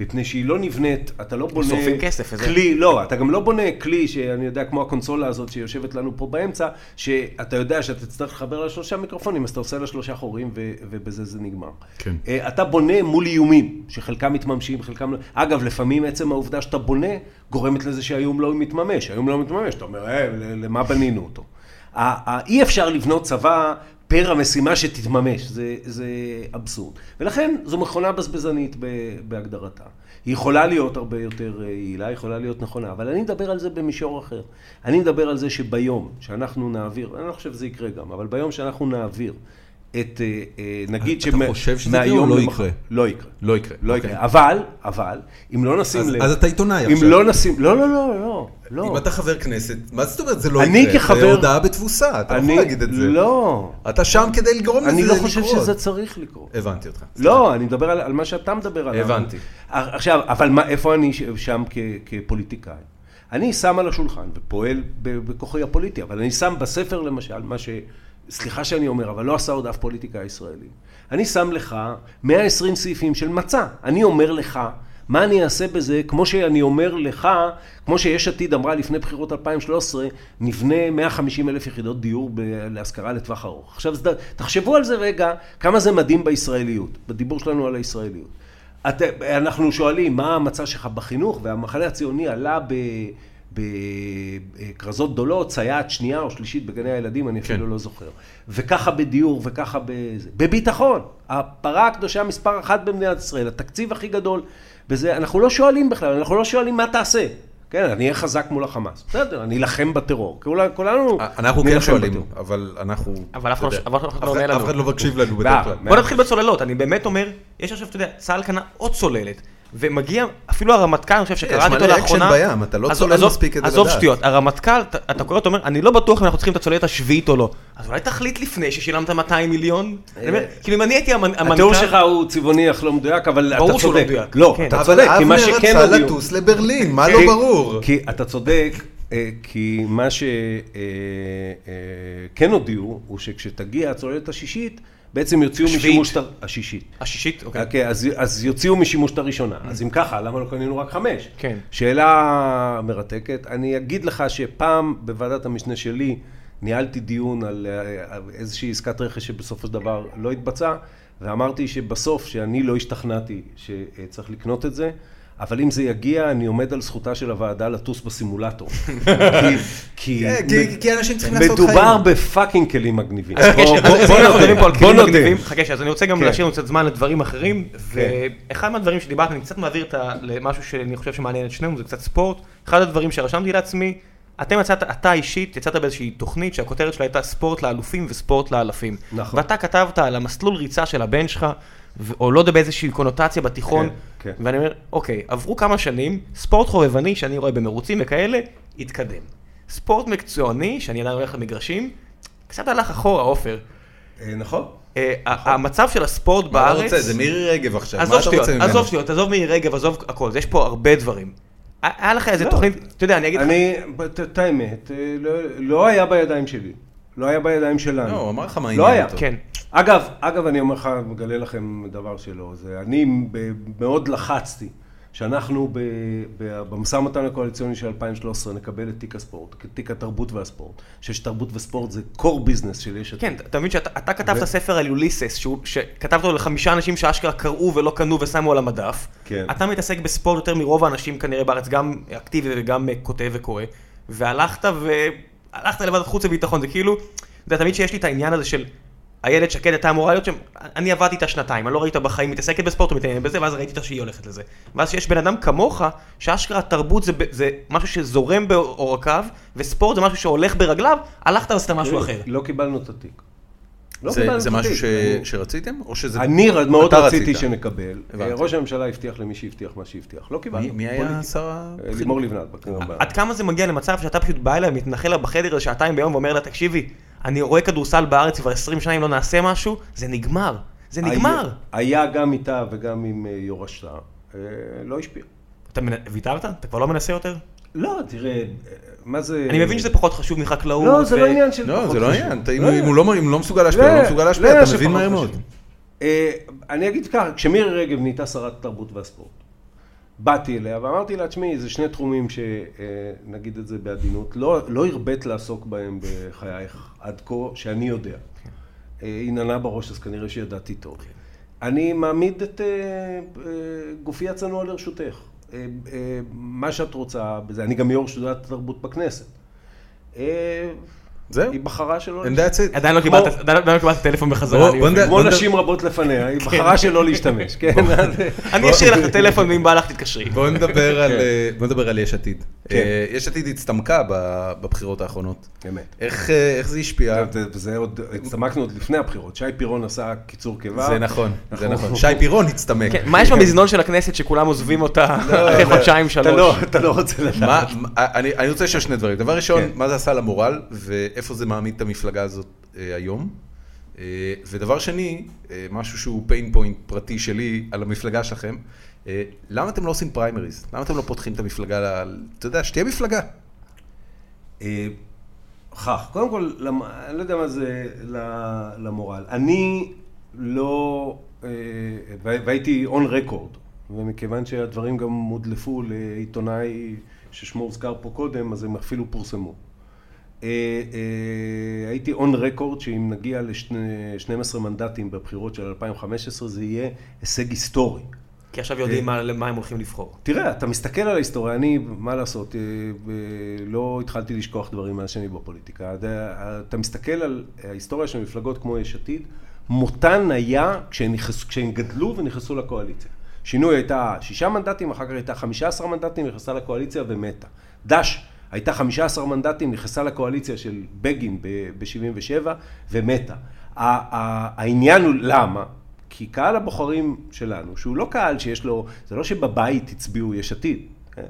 S3: מפני שהיא לא נבנית, אתה לא בונה...
S2: שורפים כסף, וזה-
S3: כלי, לא, אתה גם לא בונה כלי שאני יודע, כמו הקונסולה הזאת שיושבת לנו פה באמצע, שאתה יודע שאתה תצטרך לחבר לה שלושה מיקרופונים, אז אתה עושה לה שלושה חורים ו- ובזה זה נגמר.
S1: כן.
S3: אה, אתה בונה מול איומים, שחלקם מתממשים, חלקם לא... אגב, לפעמים עצם העובדה שאתה בונה, גורמת לזה שהאיום לא מתממש. האיום לא מתממש, אתה אומר, אה, ל- למה בנינו אותו? ה- ה- אי אפשר לבנות צבא פר המשימה שתתממש, זה, זה אבסורד. ולכן זו מכונה בזבזנית ב- בהגדרתה. היא יכולה להיות הרבה יותר אה, יעילה, היא יכולה להיות נכונה, אבל אני מדבר על זה במישור אחר. אני מדבר על זה שביום שאנחנו נעביר, אני לא חושב שזה יקרה גם, אבל ביום שאנחנו נעביר את, אה, אה, נגיד
S1: אתה חושב שזה יקרה או
S3: מהיום
S1: לא
S3: למח-
S1: יקרה?
S3: לא יקרה.
S1: לא יקרה,
S3: לא
S1: אוקיי.
S3: יקרה. אבל, אבל, אם לא נשים
S1: אז-
S3: לב...
S1: אז אתה עיתונאי
S3: אם
S1: עכשיו.
S3: לא נשים... לא, לא, לא, לא.
S2: אוקיי.
S3: לא.
S1: אם אתה חבר כנסת, מה זאת אומרת זה לא
S3: אני
S1: יקרה? זה
S3: כחבר-
S1: הודעה בתבוסה, אתה לא יכול
S3: אני-
S1: להגיד את זה.
S3: לא.
S1: אתה שם כדי לגרום לזה
S3: אני
S1: לקרות.
S3: לא חושב שזה צריך לקרות.
S1: הבנתי אותך.
S3: לא, אני מדבר על, על מה שאתה מדבר עליו. אה,
S1: הבנתי.
S3: עכשיו, אבל מה, איפה אני ש- שם כ, כפוליטיקאי? אני שם על השולחן ופועל ב- בכוחי הפוליטי, אבל אני שם בספר למשל, מה ש... סליחה שאני אומר, אבל לא עשה עוד אף פוליטיקאי ישראלי. אני שם לך 120 סעיפים של מצע. אני אומר לך, מה אני אעשה בזה, כמו שאני אומר לך, כמו שיש עתיד אמרה לפני בחירות 2013, נבנה 150 אלף יחידות דיור ב- להשכרה לטווח ארוך. עכשיו, זה ד- תחשבו על זה רגע, כמה זה מדהים בישראליות, בדיבור שלנו על הישראליות. את, אנחנו שואלים, מה המצע שלך בחינוך? והמחנה הציוני עלה ב... בכרזות גדולות, סייעת שנייה או שלישית בגני הילדים, אני
S1: כן.
S3: אפילו לא זוכר. וככה בדיור, וככה בזה. בביטחון, הפרה הקדושה מספר אחת במדינת ישראל, התקציב הכי גדול בזה, אנחנו לא שואלים בכלל, אנחנו לא שואלים מה תעשה. כן, אני אהיה חזק מול החמאס. בסדר, אני אלחם בטרור. כולה- כולנו
S1: אנחנו כן
S3: נילחם
S1: שואלים,
S3: בטרור.
S1: אבל אנחנו...
S2: אבל אף אחד
S1: אתה
S2: לא-
S1: יודע,
S2: אבל אף אחד לא עונה
S1: אף
S2: לנו.
S1: אף אחד לא מקשיב לנו בדרך כלל.
S3: מה?
S2: בוא נתחיל בצוללות, אני באמת אומר, יש עכשיו, אתה יודע, צה"ל קנה עוד צוללת, ומגיע, אפילו הרמטכ"ל, אני חושב
S1: יש
S2: שקראתי
S1: מלא
S2: אותו
S1: אקשן
S2: לאחרונה.
S1: בים, אתה לא
S2: עזוב-
S1: צולל
S2: עזוב-
S1: מספיק כדי
S2: עזוב
S1: לדעת.
S2: שטויות, הרמטכ"ל, אתה- אתה קורא אותו, אומר, אני לא בטוח אם אנחנו צריכים את הצוללת השביעית או לא. אז אולי תחליט לפני ששילמת 200 מיליון?
S1: אה,
S2: אני אומר, כאילו אם אני הייתי המנ- המנכ"ל...
S3: התיאור שלך הוא צבעוני אך לא מדויק, אבל אתה צודק.
S2: ברור שהוא לא מדויק.
S3: לא,
S2: כן.
S3: אתה
S1: אבל
S3: צודק, כי
S1: אבנר
S3: מה שכן
S1: רצה
S3: הודיעו...
S1: לטוס לברלין, מה
S3: כי-
S1: לא ברור?
S3: כי אתה צודק, אה, כי מה שכן הודיעו, הוא שכשתגיע הצוללת השישית, בעצם יוציאו
S2: השביעית.
S3: משימוש... את ה- השישית.
S2: השישית, אוקיי. Mm.
S3: אוקיי, אז, אז יוציאו משימוש את הראשונה. אז אם ככה, למה לא קנינו רק חמש?
S2: כן.
S3: שאלה מרתקת. אני אגיד לך שפעם בוועדת המשנה שלי ניהלתי דיון על אה, על איזושהי עסקת רכש שבסופו של דבר לא התבצעה, ואמרתי שבסוף, שאני לא השתכנעתי שצריך לקנות את זה. אבל אם זה יגיע, אני עומד על זכותה של הוועדה לטוס בסימולטור. כי- כי...
S1: כן, כי- כי אנשים צריכים לעשות חיים.
S3: מדובר בפאקינג כלים מגניבים.
S2: אז חכה,
S3: בוא-
S2: שנייה, אז
S3: בוא-
S2: אם אנחנו
S3: נודה,
S2: מדברים פה על
S3: בוא
S2: כלים
S3: נודה.
S2: מגניבים, חכה שנייה, אז אני רוצה גם
S3: כן.
S2: להשאיר לנו קצת זמן לדברים אחרים,
S3: כן.
S2: ואחד מהדברים שדיברת, אני קצת מעביר את ה- למשהו שאני חושב שמעניין את שנינו, זה קצת ספורט, אחד הדברים שרשמתי לעצמי, אתם יצאת, אתה אישית יצאת באיזושהי תוכנית שהכותרת שלה הייתה ספורט לאלופים וספורט לאלפים.
S3: נכון.
S2: ואתה כתבת על המסלול ריצה של הבן שלך, ו- או לא יודע באיזושהי קונוטציה בתיכון,
S3: כן, כן.
S2: נכון? ואני אומר, אוקיי, עברו כמה שנים, ספורט חובבני שאני רואה במרוצים וכאלה, התקדם. ספורט מקצועני, שאני עדיין הולך למגרשים, קצת הלך אחורה, עופר.
S3: אה, נכון.
S2: אה, ה- המצב של הספורט
S1: מה אתה
S2: בארץ...
S1: רוצה? זה מירי רגב עכשיו, מה
S2: עזוב
S1: אתה
S2: שטויות,
S1: רוצה ממנו?
S2: עזוב שטויות, עזוב מירי רגב, עזוב הכל, יש פה הרבה דברים. היה היה לך איזה
S3: לא.
S2: תוכנית, אתה יודע, אני אגיד לך,
S3: אני, בת- את האמת, אה, לא- לא היה בידיים שלי. לא היה בידיים שלנו.
S1: לא, הוא אמר לך מה
S3: לא
S1: עניין
S3: היה.
S1: אותו.
S2: כן,
S3: אגב, אגב, אני אומר לך, מגלה לכם דבר שלא. זה, אני ב- מאוד לחצתי שאנחנו ב- ב- במשא ומתן הקואליציוני של 2013 נקבל את תיק הספורט, תיק התרבות והספורט. אני חושב שתרבות וספורט זה core ביזנס של יש עתיד.
S2: כן, אתה מבין שאתה אתה כתבת
S3: ו-
S2: ספר על יוליסס, שהוא- שכתבת אותו לחמישה אנשים שאשכרה קראו ולא קנו ושמו על המדף.
S3: כן.
S2: אתה מתעסק בספורט יותר מרוב האנשים כנראה בארץ, גם אקטיבי וגם אה, כותב וקורא, והלכת והלכת לוועדת חוץ וביטחון, זה כאילו, אתה יודע, תמיד שיש לי את העניין הזה של... איילת שקד הייתה אמורה להיות שם, אני עבדתי איתה שנתיים, אני לא ראיתי אותה בחיים מתעסקת בספורט ומתעניינת בזה, ואז ראיתי אותה שהיא הולכת לזה. ואז שיש בן אדם כמוך, שאשכרה תרבות זה, ב- זה משהו שזורם בעורקיו, וספורט זה משהו שהולך ברגליו, הלכת ועשית משהו אחר.
S3: לא קיבלנו את התיק. לא
S1: אה, זה-
S3: קיבלנו
S1: זה
S3: את
S1: משהו
S3: התיק.
S1: ש-
S3: אני-
S1: שרציתם? או שזה...
S3: אני רד- מאוד
S1: אתה
S3: רציתי
S1: רצית.
S3: שנקבל.
S1: הבנתי.
S3: ראש הממשלה הבטיח למי שהבטיח מה שהבטיח. לא קיבלנו.
S1: מי- מי
S3: פוליטי.
S1: היה שר ה...
S3: אה, לימור לבנת. בכנסת הבאה.
S2: עד כמה זה מגיע למצב שאתה פשוט בא אליה, מתנחל לה בחדר איזה שעתיים ביום ואומר לה, תקשיבי, אני רואה כדורסל בארץ כבר 20 שנה, אם לא נעשה משהו, זה נגמר. זה נגמר.
S3: היה היה גם איתה וגם עם אה, יורשתה, אה, לא השפיע.
S2: אתה מנ- ויתרת? אתה כבר לא מנסה יותר?
S3: לא, תראה, אה, מה זה...
S2: אני מבין שזה פחות חשוב מחקלאות.
S3: לא, זה
S2: ו-
S3: לא עניין של...
S1: לא,
S3: פחות
S1: זה לא
S3: חשוב.
S1: העניין, אתה- אם הוא- אם הוא לא מ- אם הוא לא מסוגל להשפיע, הוא לא מסוגל להשפיע,
S3: לא,
S1: אתה
S3: שפחות
S1: מבין מהר
S3: חשוב.
S1: מאוד.
S3: אה, אני אגיד ככה, כשמירי רגב נהייתה שרת התרבות והספורט, באתי אליה ואמרתי לה, תשמעי, זה שני תחומים שנגיד את זה בעדינות, לא, לא הרבית לעסוק בהם בחייך עד כה, שאני יודע. אה, היא נענה בראש, אז כנראה שידעתי טוב. אני מעמיד את אה, אה, גופי הצנוע לרשותך. אה, אה, מה שאת רוצה בזה, אני גם יו"ר שדולת התרבות בכנסת. אה,
S1: זהו.
S3: היא בחרה שלא...
S1: And that's it.
S2: עדיין לא
S3: כמו-
S2: קיבלת- עדיין לא עדיין לא קיבלת טלפון בחזרה.
S1: בוא-
S2: אני
S1: בוא כן.
S2: מבין.
S1: נדע-
S3: כמו נשים רבות לפניה, היא בחרה שלא להשתמש, כן?
S2: אני אשאיר לך את הטלפון, ואם בא לך תתקשרי.
S1: בואו נדבר על
S3: כן.
S1: אה, בוא נדבר על יש עתיד.
S3: כן.
S1: אה, יש עתיד הצטמקה ב- בבחירות האחרונות.
S3: אמת.
S1: איך אה, איך זה השפיע?
S3: וזה עוד, הצטמקנו עוד לפני הבחירות, שי פירון עשה קיצור קיבה.
S1: זה נכון, זה
S3: אנחנו-
S1: נכון. שי פירון הצטמק.
S2: כן, מה יש במזנון של הכנסת שכולם עוזבים אותה אחרי חודשיים,
S3: אתה לא,
S2: שלוש?
S3: אתה לא רוצה לדעת.
S1: מה, מה- אני, אני רוצה לשאול שני דברים. דבר ראשון,
S3: כן.
S1: מה זה עשה למורל, ואיפה זה מעמיד את המפלגה הזאת אה, היום? אה, ודבר שני, אה, משהו שהוא pain point פרטי שלי על המפלגה שלכם, אה, למה אתם לא עושים פריימריז? למה אתם לא פותחים את המפלגה, ל- אתה יודע, שתהיה מפלגה.
S3: אה, כך, קודם כל, למ- אני לא יודע מה זה ל- למורל. אני לא, אה, וה- והייתי און רקורד, ומכיוון שהדברים גם הודלפו לעיתונאי ששמו הוזכר פה קודם, אז הם אפילו פורסמו. אה, אה, הייתי און רקורד שאם נגיע ל-12 מנדטים בבחירות של 2015 זה יהיה הישג היסטורי.
S2: כי עכשיו יודעים מה- למה הם הולכים לבחור.
S3: תראה, אתה מסתכל על ההיסטוריה, אני, מה לעשות, אה, אה, לא התחלתי לשכוח דברים מאז שאני בפוליטיקה. אתה- אתה מסתכל על ההיסטוריה של מפלגות כמו יש עתיד, מותן היה כשהן, נכנס, כשהן גדלו ונכנסו לקואליציה. שינוי הייתה שישה מנדטים, אחר כך הייתה חמישה עשר מנדטים, נכנסה לקואליציה ומתה. דש הייתה חמישה עשר מנדטים, נכנסה לקואליציה של בגין ב-77' ומתה. ה- ה- העניין הוא למה? כי קהל הבוחרים שלנו, שהוא לא קהל שיש לו, זה לא שבבית הצביעו יש עתיד, כן?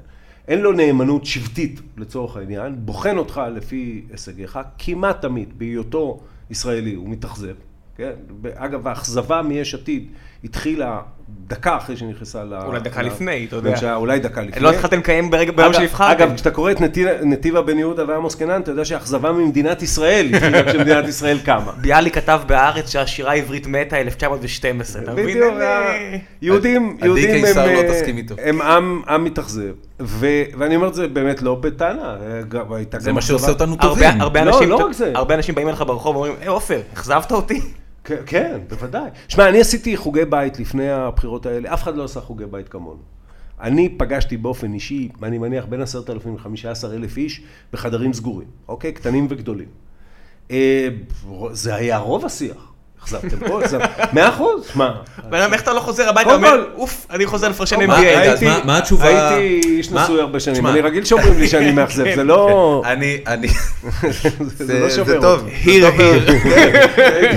S3: אין לו נאמנות שבטית לצורך העניין, בוחן אותך לפי הישגיך, כמעט תמיד בהיותו ישראלי הוא מתאכזב, כן? אגב, האכזבה מיש עתיד התחילה דקה אחרי שנכנסה ל...
S2: אולי דקה
S3: ל-
S2: לפני, אתה יודע.
S3: לממשלה, אולי דקה לפני.
S2: לא התחלתם לקיים ברגע- ביום
S3: אגב-
S2: שנבחרתם.
S3: אגב, כשאתה קורא את נתיב- נתיבה בן יהודה ועמוס קנן, אתה יודע שאכזבה ממדינת ישראל התחילה כשמדינת ישראל קמה.
S2: ביאליק כתב בהארץ שהשירה העברית מתה 1912, אתה מבין? אה,
S3: בדיוק, אה,
S2: אני-
S3: יהודים,
S1: אה, עדי
S3: יהודים הם,
S1: קיסר לא
S3: אה,
S1: תסכים איתו.
S3: הם עם, עם מתאכזב, ו- ואני אומר את זה באמת לא בטענה, אה, גם- הייתה
S1: זה
S3: גם
S1: מה שעושה
S3: מחשבה-
S1: אותנו טובים.
S2: הרבה, הרבה,
S3: לא,
S2: אנשים,
S3: לא רק זה.
S2: הרבה אנשים באים אליך ברחוב ואומרים, היי עופר, אכזבת אותי?
S3: כן, כן, בוודאי. שמע, אני עשיתי חוגי בית לפני הבחירות האלה, אף אחד לא עשה חוגי בית כמונו. אני פגשתי באופן אישי, אני מניח, בין 10,000 ל-15,000 איש בחדרים סגורים, אוקיי? קטנים וגדולים. אה, זה היה רוב השיח. אכזבתם פה, אכזבתם. מאה אחוז, מה?
S2: ואני אומר, איך אתה לא חוזר הביתה?
S3: קודם
S2: אומר,
S3: כל-
S2: אוף, אני חוזר לפרשן
S1: מה,
S2: NBA.
S1: רגע, אז
S3: הייתי-
S1: מה- מה התשובה-
S3: הייתי איש
S1: מה-
S3: נשוי הרבה שנים,
S1: תשמע.
S3: אני רגיל שאומרים לי שאני מאכזב, זה לא...
S1: אני, אני,
S3: זה לא שובר
S1: זה טוב,
S3: אותי.
S1: היר היר.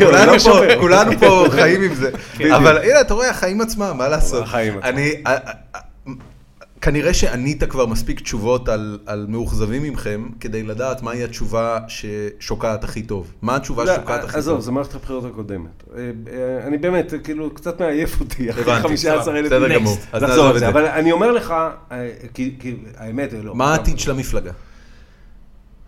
S1: כולנו
S3: לא
S1: פה-
S3: שובר.
S1: כולנו פה חיים עם זה. אבל הנה, אתה רואה, החיים עצמם, מה לעשות?
S3: החיים עצמם.
S1: אני, א- א- א- כנראה שענית כבר מספיק תשובות על על מאוכזבים ממכם, כדי לדעת מהי התשובה ששוקעת הכי טוב. מה התשובה
S3: לא,
S1: ששוקעת הכי
S3: עזוב,
S1: טוב?
S3: זה מערכת הבחירות הקודמת. אה, אה, אני באמת, אה, כאילו, קצת מעייף אותי, אחרי
S1: הבנתי,
S3: 15 אלף
S1: בסדר גמור. אז
S3: לחזור
S1: נעזוב
S3: על
S1: את
S3: זה.
S1: זה.
S3: אבל אני אומר לך, אה, כי כי האמת, אה, לא.
S1: מה העתיד של המפלגה?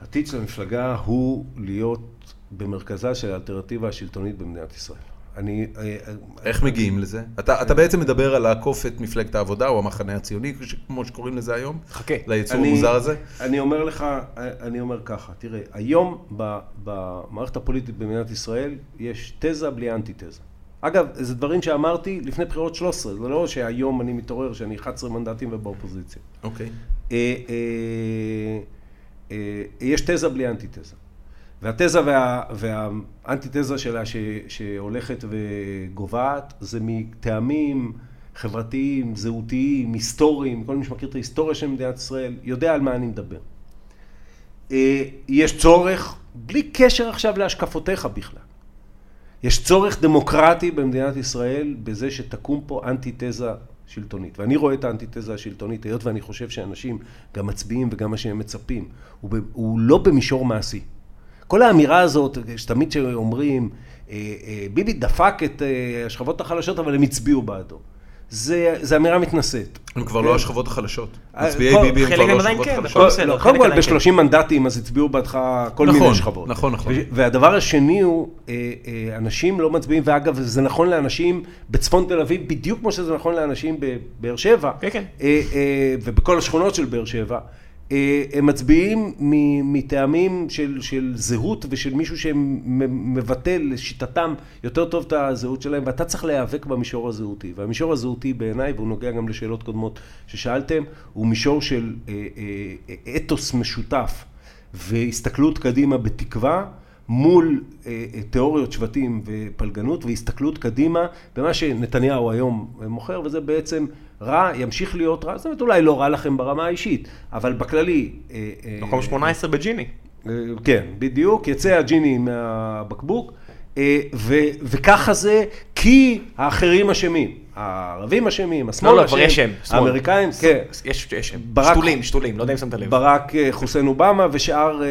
S3: העתיד של המפלגה הוא להיות במרכזה של האלטרנטיבה השלטונית במדינת ישראל. אני... אה, אה,
S1: איך מגיעים לזה? אתה אתה בעצם מדבר על לעקוף את מפלגת העבודה או המחנה הציוני, כש- כמו שקוראים לזה היום?
S2: חכה.
S1: ליצור
S3: אני-
S1: המוזר הזה?
S3: אני אומר לך, אני אומר ככה, תראה, היום ב- במערכת הפוליטית במדינת ישראל יש תזה בלי אנטיתזה. אגב, זה דברים שאמרתי לפני בחירות 13, זה לא שהיום אני מתעורר שאני 11 מנדטים ובאופוזיציה.
S1: אוקיי.
S3: אה, אה, אה, יש תזה בלי אנטיתזה. והתזה וה, והאנטיתזה שלה ש, שהולכת וגוועת זה מטעמים חברתיים, זהותיים, היסטוריים, כל מי שמכיר את ההיסטוריה של מדינת ישראל יודע על מה אני מדבר. אה, יש צורך, בלי קשר עכשיו להשקפותיך בכלל, יש צורך דמוקרטי במדינת ישראל בזה שתקום פה אנטיתזה שלטונית. ואני רואה את האנטיתזה השלטונית, היות ואני חושב שאנשים גם מצביעים וגם מה שהם מצפים, הוא, ב, הוא לא במישור מעשי. כל האמירה הזאת, שתמיד שאומרים, אה, אה, ביבי דפק את אה, השכבות החלשות, אבל הם הצביעו בעדו. זה, זה אמירה מתנשאת. כן?
S1: הם כבר לא השכבות החלשות.
S3: אה,
S1: מצביעי
S3: כל-
S1: ביבי הם
S2: חלק
S1: כבר
S2: הם
S1: לא
S2: עדיין
S1: השכבות
S2: כן,
S1: החלשות.
S2: הכל בסדר,
S3: לא, קודם
S2: חלק
S3: כל,
S2: עדיין כן.
S3: ב-30 מנדטים אז הצביעו בעדך כל
S1: נכון,
S3: מיני שכבות.
S1: נכון, נכון.
S3: ו- והדבר השני הוא, אה, אה, אנשים לא מצביעים, ואגב, זה נכון לאנשים בצפון תל אביב, בדיוק כמו שזה נכון לאנשים בבאר שבע.
S2: כן, כן.
S3: אה, אה, ובכל השכונות של באר שבע. אה, הם מצביעים מ- מטעמים של, של זהות ושל מישהו שמבטא לשיטתם יותר טוב את הזהות שלהם, ואתה צריך להיאבק במישור הזהותי. והמישור הזהותי בעיניי, והוא נוגע גם לשאלות קודמות ששאלתם, הוא מישור של אה, אה, אה, אתוס משותף והסתכלות קדימה בתקווה. מול אה, אה, תיאוריות שבטים ופלגנות והסתכלות קדימה במה שנתניהו היום מוכר, וזה בעצם רע, ימשיך להיות רע, זאת אומרת אולי לא רע לכם ברמה האישית, אבל בכללי... אה, אה,
S2: מקום 18 בג'יני.
S3: אה, כן, בדיוק, יצא הג'יני מהבקבוק, אה, ו, וככה זה כי האחרים אשמים, הערבים אשמים, השמאל
S2: לא,
S3: אשם,
S2: לא, כבר יש שם, שמאל.
S3: האמריקאים, כן.
S2: יש, יש,
S3: ברק-
S2: שתולים, שתולים, לא יודע אם שמת לב.
S3: ברק אה, חוסיין אובמה ושאר, אה,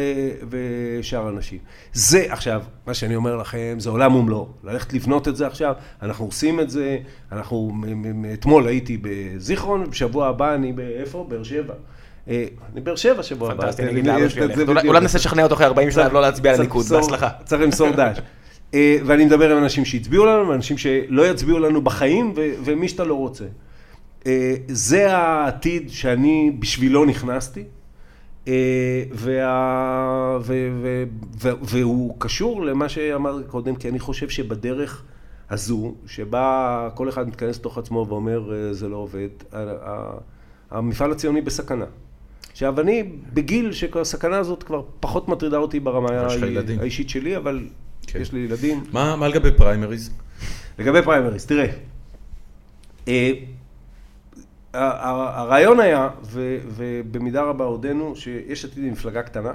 S3: ושאר אנשים. זה עכשיו, מה שאני אומר לכם, זה עולם ומלואו. ללכת לבנות את זה עכשיו, אנחנו עושים את זה, אנחנו, מ- מ- מ- אתמול הייתי בזיכרון, בשבוע הבא אני באיפה? באר שבע. אה, אני באר שבע שבוע הבא.
S2: פנטסטי,
S3: אז
S2: אני אגיד
S3: לי
S2: לאבא
S3: את-
S2: שלי.
S3: את זה
S2: ללכת. אולי-
S3: בדיוק.
S2: אולי ננסה לשכנע אותו אחרי 40 שנה
S3: צריך-
S2: לא להצביע על
S3: צריך
S2: הליכוד,
S3: למסור-
S2: בהצלחה.
S3: צריך למסור דש. אה, ואני מדבר עם אנשים שהצביעו לנו, ואנשים שלא יצביעו לנו בחיים, ו- ומי שאתה לא רוצה. אה, זה העתיד שאני בשבילו נכנסתי, אה, וה- ו- ו- ו- והוא קשור למה שאמרתי קודם, כי אני חושב שבדרך הזו, שבה כל אחד מתכנס לתוך עצמו ואומר, אה, זה לא עובד, ה- ה- המפעל הציוני בסכנה. עכשיו, אני בגיל שהסכנה הזאת כבר פחות מטרידה אותי ברמה
S1: יש לך
S3: האי-
S1: ילדים.
S3: האישית שלי, אבל
S1: כן.
S3: יש לי ילדים.
S1: מה מה לגבי פריימריז?
S3: לגבי פריימריז, תראה, אה, ה- ה- הרעיון היה, ו- ובמידה רבה עודנו, שיש עתיד היא מפלגה קטנה,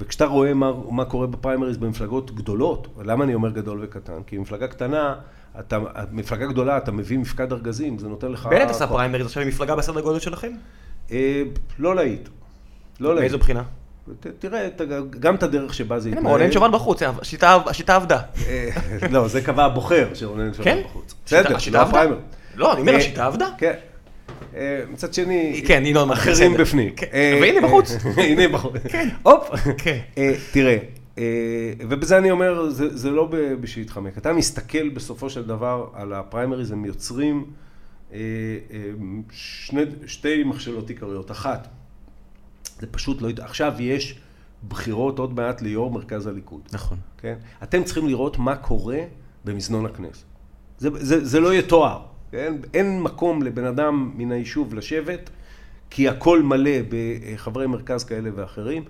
S3: וכשאתה רואה מה, מה קורה בפריימריז במפלגות גדולות, למה אני אומר גדול וקטן? כי מפלגה קטנה, אתה, מפלגה גדולה, אתה מביא מפקד ארגזים, זה נותן לך...
S2: בנט עשה
S3: כוח.
S2: פריימריז עכשיו עם מפלגה בסדר גודל שלכם?
S3: אה, לא להיט. לא להיט.
S2: מאיזו בחינה?
S3: ת- תראה את ה- גם את הדרך שבה זה
S2: הנה, רונן שובל בחוץ, אה, השיטה השיטה עבדה.
S3: אה, לא, זה קבע הבוחר שרונן שובל
S2: כן?
S3: בחוץ.
S2: השיטה-
S3: בסדר,
S2: השיטה
S3: לא
S2: עבדה?
S3: הפריימר.
S2: לא, אני אומר,
S3: אה,
S2: השיטה עבדה.
S3: כן. אה, מצד שני,
S2: כן, ינון,
S3: אחרים
S2: בסדר.
S3: בפנים.
S2: כן,
S3: אה,
S2: והנה
S3: אה,
S2: בחוץ.
S3: הנה בחוץ.
S2: כן.
S3: הופ.
S2: כן.
S3: אה, תראה, אה, ובזה אני אומר, זה זה לא ב- בשביל להתחמק. אתה מסתכל בסופו של דבר על הפריימריז, הם יוצרים אה, אה, שני- שתי מכשלות עיקריות. אחת, זה פשוט לא... עכשיו יש בחירות עוד מעט ליו"ר מרכז הליכוד.
S1: נכון.
S3: כן? אתם צריכים לראות מה קורה במזנון הכנסת. זה, זה, זה לא יתואר, כן? אין מקום לבן אדם מן היישוב לשבת, כי הכל מלא בחברי מרכז כאלה ואחרים.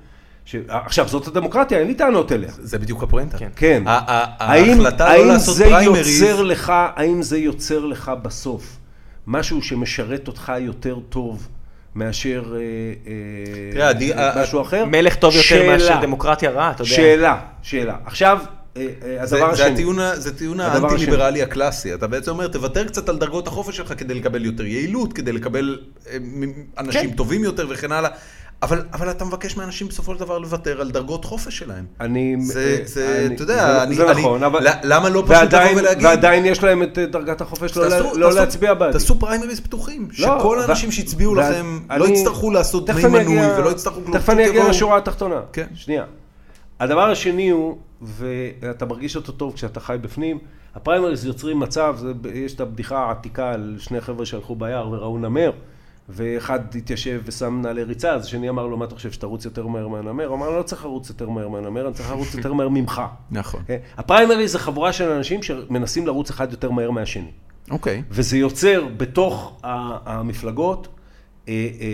S3: ש... עכשיו, זאת הדמוקרטיה, אין לי טענות אליה.
S1: זה בדיוק הפואנטה.
S2: כן.
S3: כן.
S1: ה- ה-
S3: האם,
S1: ההחלטה לא
S3: האם
S1: לעשות
S3: זה
S1: פריימריז-
S3: יוצר לך, האם זה יוצר לך בסוף משהו שמשרת אותך יותר טוב מאשר אה, אה,
S1: תראה, הדי- ה-
S3: משהו אחר?
S2: מלך טוב יותר
S3: שאלה.
S2: מאשר דמוקרטיה רעה, אתה יודע.
S3: שאלה, שאלה. עכשיו, אה, אה,
S1: זה,
S3: הדבר
S1: זה
S3: השני.
S1: הטיעון, ה- זה טיעון
S3: הדבר
S1: האנטי-ליברלי הקלאסי. אתה בעצם אומר, תוותר קצת על דרגות החופש שלך כדי לקבל יותר יעילות, כדי לקבל אה, מ- אנשים
S2: כן.
S1: טובים יותר וכן הלאה. אבל, אבל אתה מבקש מאנשים בסופו של דבר לוותר על דרגות חופש שלהם.
S3: אני...
S1: זה,
S3: אה,
S1: זה,
S3: אני-
S1: אתה יודע,
S3: זה-
S1: אני,
S3: זה
S1: אני-
S3: נכון, אבל...
S1: ל- למה לא פשוט
S3: ועדיין,
S1: לבוא ולהגיד,
S3: ועדיין יש להם את אה, דרגת החופש לא,
S1: תעשו-
S3: לה- לא
S1: תעשו-
S3: להצביע בעדי.
S1: תעשו פריימריז פתוחים, שכל
S3: ו-
S1: האנשים שהצביעו
S3: ו-
S1: לכם לא
S3: לא, אני-
S1: יצטרכו לעשות
S3: תכף
S1: דמי
S3: אני
S1: מנוי
S3: אגיע-
S1: ולא יצטרכו כלום.
S3: תכף אני
S1: פשוט
S3: אגיע
S1: יבואו-
S3: לשורה התחתונה.
S1: כן.
S3: שנייה. הדבר השני הוא, ואתה מרגיש אותו טוב כשאתה חי בפנים, הפריימריז יוצרים מצב, זה, יש את הבדיחה העתיקה על שני חבר'ה שהלכו ביער וראו נמר, ואחד התיישב ושם נעלי ריצה, אז השני אמר לו, מה אתה חושב, שתרוץ יותר מהר מהנמר? הוא אמר, "אני לא צריך לרוץ יותר מהר מהנמר, אני צריך לרוץ יותר מהר ממך.
S1: נכון,
S3: כן? הפריימריז זה חבורה של אנשים שמנסים לרוץ אחד יותר מהר מהשני.
S1: אוקיי.
S3: וזה יוצר בתוך ה- המפלגות אה, אה,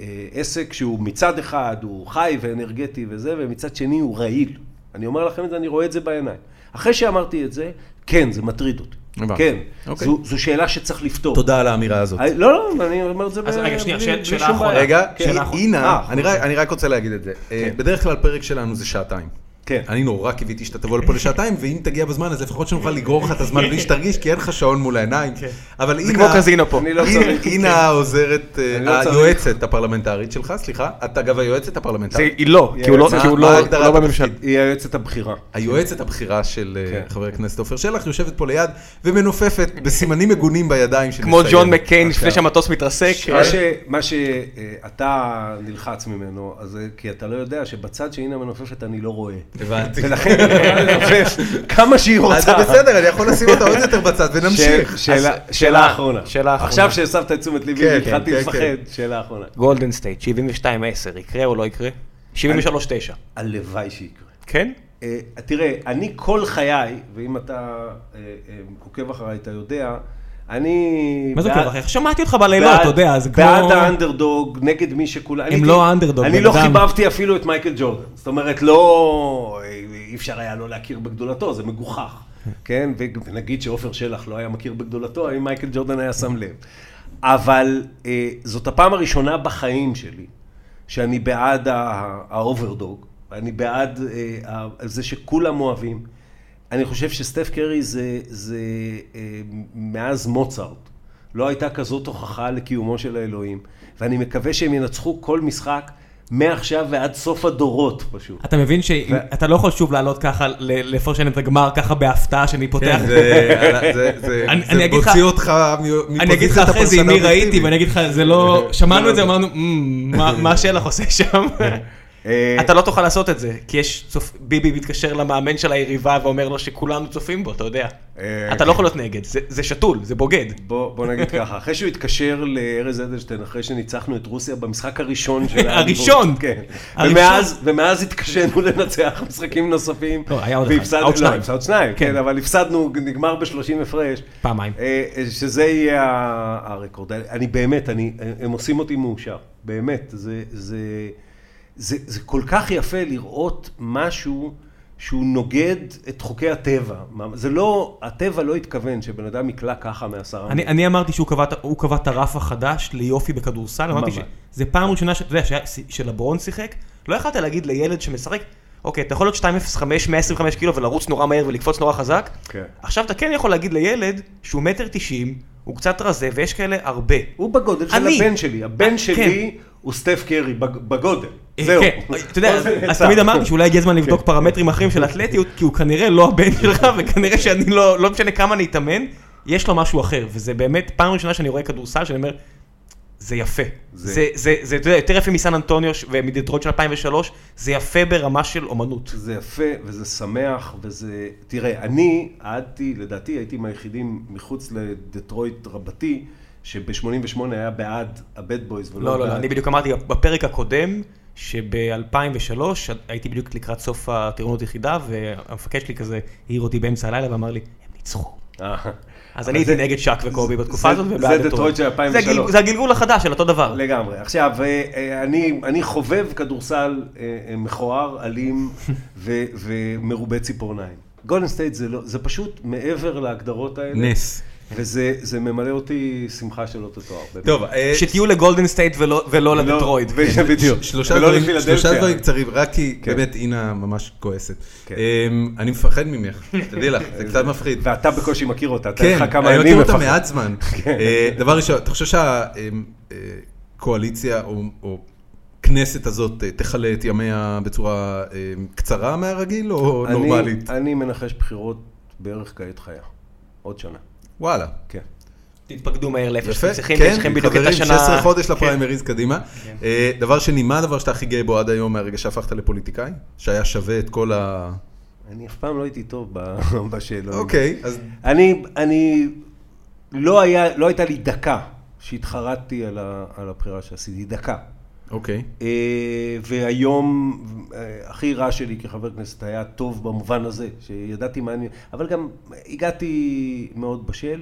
S3: אה, עסק שהוא מצד אחד הוא חי ואנרגטי וזה, ומצד שני הוא רעיל. אני אומר לכם את זה, אני רואה את זה בעיניים. אחרי שאמרתי את זה, כן, זה מטריד אותי.
S1: הבנתי.
S3: כן,
S1: אוקיי.
S3: זו, זו שאלה שצריך לפתור.
S1: תודה על האמירה הזאת.
S3: אה, לא, לא, אני אומר את זה
S2: אז
S3: ב-
S2: רגע, שנייה,
S3: בלי-
S2: שאל-
S3: בלי
S2: שאלה
S3: שום
S2: אחרונה.
S3: בעיה.
S1: רגע,
S2: כן. שאלה אחרונה.
S1: הנה,
S3: אה,
S1: אני רק- אני רק רוצה להגיד את זה. אה, בדרך כלל פרק שלנו זה שעתיים.
S3: כן.
S1: אני נורא קיוויתי שאתה תבוא לפה לשעתיים, ואם תגיע בזמן, אז לפחות שנוכל לגרור לך את הזמן בלי שתרגיש, כי אין לך שעון מול העיניים.
S3: כן.
S1: אבל
S2: זה כמו
S1: הנה,
S2: קזינו פה.
S3: אני לא
S1: הנה-
S3: צריך.
S1: הנה העוזרת, אה,
S3: אני לא צריך.
S1: היועצת הפרלמנטרית שלך, סליחה. את אגב היועצת הפרלמנטרית.
S2: היא לא, כי הוא לא-
S1: מה-
S2: כי הוא
S1: מה
S2: לא-
S1: ההגדרה
S2: לא
S1: בתפקיד?
S2: בממשלה.
S3: היא היועצת הבכירה.
S1: היועצת הבכירה של אה,
S3: כן.
S1: חבר הכנסת עופר שלח יושבת פה ליד ומנופפת בסימנים מגונים בידיים של
S2: כמו
S1: מסיים.
S2: ג'ון מקיין
S3: עכשיו.
S2: לפני שהמטוס מתרסק.
S3: מה ש- מה שאתה נלחץ ממנו, אז זה כי אתה לא יודע שבצד שהנה מנופפת אני לא רואה.
S1: הבנתי.
S3: ולכן היא יכולה לנופף כמה שהיא רוצה.
S1: אז זה בסדר, אני יכול לשים אותה עוד יותר בצד ונמשיך.
S3: ש- שאלה-
S2: אז-
S3: שאלה אחרונה.
S2: שאלה אחרונה.
S3: עכשיו שהסבת את תשומת ליבי,
S1: כן,
S3: התחלתי
S1: כן,
S3: לפחד. שאלה אחרונה.
S2: גולדן סטייט, 72-10, יקרה או לא יקרה? 73-9.
S3: הלוואי שיקרה.
S2: כן?
S3: אה, תראה, אני כל חיי, ואם אתה אה, אה, עוקב אחריי, אתה יודע, אני...
S4: מה זה
S3: בעד-
S4: עוקב אחריך? שמעתי אותך בלילות,
S3: בעד-
S4: לא, אתה יודע, זה כמו...
S3: בעד האנדרדוג, נגד מי שכולם...
S4: הם לא האנדרדוג,
S3: אני
S4: בן
S3: לא
S4: אדם.
S3: חיבבתי אפילו את מייקל ג'ורדן. זאת אומרת, לא... אי אפשר היה לא להכיר בגדולתו, זה מגוחך. כן? ונגיד שעופר שלח לא היה מכיר בגדולתו, האם מייקל ג'ורדן היה שם לב. אבל אה, זאת הפעם הראשונה בחיים שלי שאני בעד ה- האוברדוג, אני בעד אה, ה- זה שכולם אוהבים. אני חושב שסטף קרי זה, זה אה, מאז מוצרט. לא הייתה כזאת הוכחה לקיומו של האלוהים, ואני מקווה שהם ינצחו כל משחק מעכשיו ועד סוף הדורות פשוט.
S4: אתה מבין שאתה לא יכול שוב לעלות ככה, ל- לפרשן את הגמר ככה בהפתעה שאני פותח.
S1: כן, זה- זה- זה-
S4: אני-
S1: זה
S4: אני אגיד לך-
S1: מוציא אותך מ-
S4: אני אגיד לך
S1: מפוזיציית
S4: אחרי זה עם
S1: הפרשן
S4: מי ראיתי,
S1: האובייקטיבית.
S4: ואני אגיד לך, זה לא... שמענו את זה, אמרנו, "מ, מה- מה שלח עושה שם?
S3: אה,
S2: אתה לא תוכל לעשות את זה, כי יש צופ... ביבי מתקשר למאמן של היריבה ואומר לו שכולנו צופים בו, אתה יודע.
S3: אה,
S2: אתה לא יכול להיות נגד, זה, זה שתול, זה בוגד.
S3: בוא, בוא נגיד ככה, אחרי שהוא התקשר לארז אדלשטיין, אחרי שניצחנו את רוסיה במשחק הראשון של האליפות.
S4: הראשון.
S3: כן.
S4: הראשון.
S3: ומאז, ומאז התקשינו לנצח משחקים נוספים.
S4: לא, היה עוד אחד,
S3: והפסדנו-
S4: עוד שניים.
S3: לא, הפסד עוד שניים,
S4: כן.
S3: כן, אבל הפסדנו, נגמר ב-30 הפרש.
S4: פעמיים.
S3: אה, אה, שזה יהיה ה- הרקורד. אני באמת, אני, הם עושים אותי מאושר. באמת, זה, זה, זה, זה כל כך יפה לראות משהו שהוא נוגד את חוקי הטבע. מה- זה לא, הטבע לא התכוון שבן אדם יקלע ככה מעשרה
S4: אני, אני אמרתי שהוא קבע, את- הוא קבע את הרף החדש ליופי בכדורסל, אמרתי
S3: ממש.
S4: שזה פעם ראשונה שאתה יודע, שהיה- שלברון שיחק, לא יכולת להגיד לילד שמשחק, אוקיי, אתה יכול להיות 2.05, 125 קילו ולרוץ נורא מהר ולקפוץ נורא חזק,
S3: כן.
S4: עכשיו אתה כן יכול להגיד לילד שהוא מטר 90, הוא קצת רזה ויש כאלה הרבה.
S3: הוא בגודל של
S4: אני.
S3: הבן שלי. הבן
S4: אה,
S3: שלי הוא סטף קרי, בג- בגודל.
S4: אה,
S3: זהו.
S4: כן, אתה יודע,
S3: כל זה
S4: אז
S3: יצא.
S4: תמיד אמרתי שאולי הגיע הזמן לבדוק
S3: כן.
S4: פרמטרים אחרים של אתלטיות, כי הוא כנראה לא הבן שלך, וכנראה שאני לא, לא משנה כמה אני אתאמן, יש לו משהו אחר, וזה באמת פעם ראשונה שאני רואה כדורסל, שאני אומר, זה יפה.
S3: זה-
S4: זה, זה, זה, אתה יודע, יותר יפה מסן אנטוניו ש- ומדטרויט של 2003, זה יפה ברמה של אומנות.
S3: זה יפה וזה שמח וזה... תראה, אני עדתי, לדעתי הייתי מהיחידים מחוץ לדטרויט רבתי, שב-88 היה בעד הבד בויז ולא
S4: לא, לא,
S3: בעד...
S4: לא, אני בדיוק אמרתי בפרק הקודם, שב-2003 הייתי בדיוק לקראת סוף הטירונות יחידה, והמפקד שלי כזה העיר אותי באמצע הלילה ואמר לי, הם ניצחו.
S3: אה.
S4: אז
S3: אבל
S4: אני הייתי
S3: זה-
S4: נגד שק וקובי
S3: זה-
S4: בתקופה הזאת,
S3: זה-
S4: ובעד
S3: זה דטרויט של 2003.
S4: זה הגל- זה הגלגול החדש של אותו דבר.
S3: לגמרי. עכשיו, אה, אה, אני, אני חובב כדורסל אה, אה, מכוער, אלים ו, ומרובה ציפורניים. גולדן סטייט זה לא, זה פשוט מעבר להגדרות האלה.
S1: נס.
S3: וזה זה ממלא אותי שמחה שלא תתואר. באמת.
S1: טוב, אה,
S4: שתהיו לגולדן סטייט ולא- ולא
S3: לא,
S4: לדטרויד.
S3: ו-
S1: כן.
S3: בדיוק.
S1: שלושה
S3: ולא
S1: דברים-
S3: לפילדלפיה.
S1: שלושה דברים קצרים, רק כי
S3: כן.
S1: באמת אינה ממש כועסת.
S3: כן.
S1: אמ, אני מפחד ממך, תדעי לך, זה קצת מפחיד.
S3: ואתה בקושי מכיר אותה, אתה
S1: כן,
S3: לך כמה כן.
S1: אני
S3: ימים
S1: מכיר אותה
S3: לפחות.
S1: מעט זמן. אה, דבר ראשון, אתה חושב שהקואליציה או כנסת הזאת אה, תכלה את ימיה בצורה אה, קצרה מהרגיל או
S3: אני-
S1: נורמלית?
S3: אני מנחש בחירות בערך כעת חיה. עוד שנה.
S1: וואלה.
S3: כן.
S2: תתפקדו מהר לאיפה
S1: יפה,
S2: שאתם צריכים, יש
S1: כן,
S2: לכם בדיוק את
S1: חברים,
S2: השנה... כן.
S1: 16 חודש לפריימריז קדימה. אה, דבר שני, מה הדבר שאתה הכי גאה בו עד היום מהרגע שהפכת לפוליטיקאי? שהיה שווה את כל ה...
S3: אני אף פעם לא הייתי טוב ב- בשאלות.
S1: אוקיי, אז
S3: אני, אני, לא היה, לא הייתה לי דקה שהתחרטתי על, ה, על הבחירה שעשיתי, דקה.
S1: אוקיי.
S3: אה, והיום אה, הכי רע שלי כחבר כנסת היה טוב במובן הזה, שידעתי מה אני... אבל גם הגעתי מאוד בשל,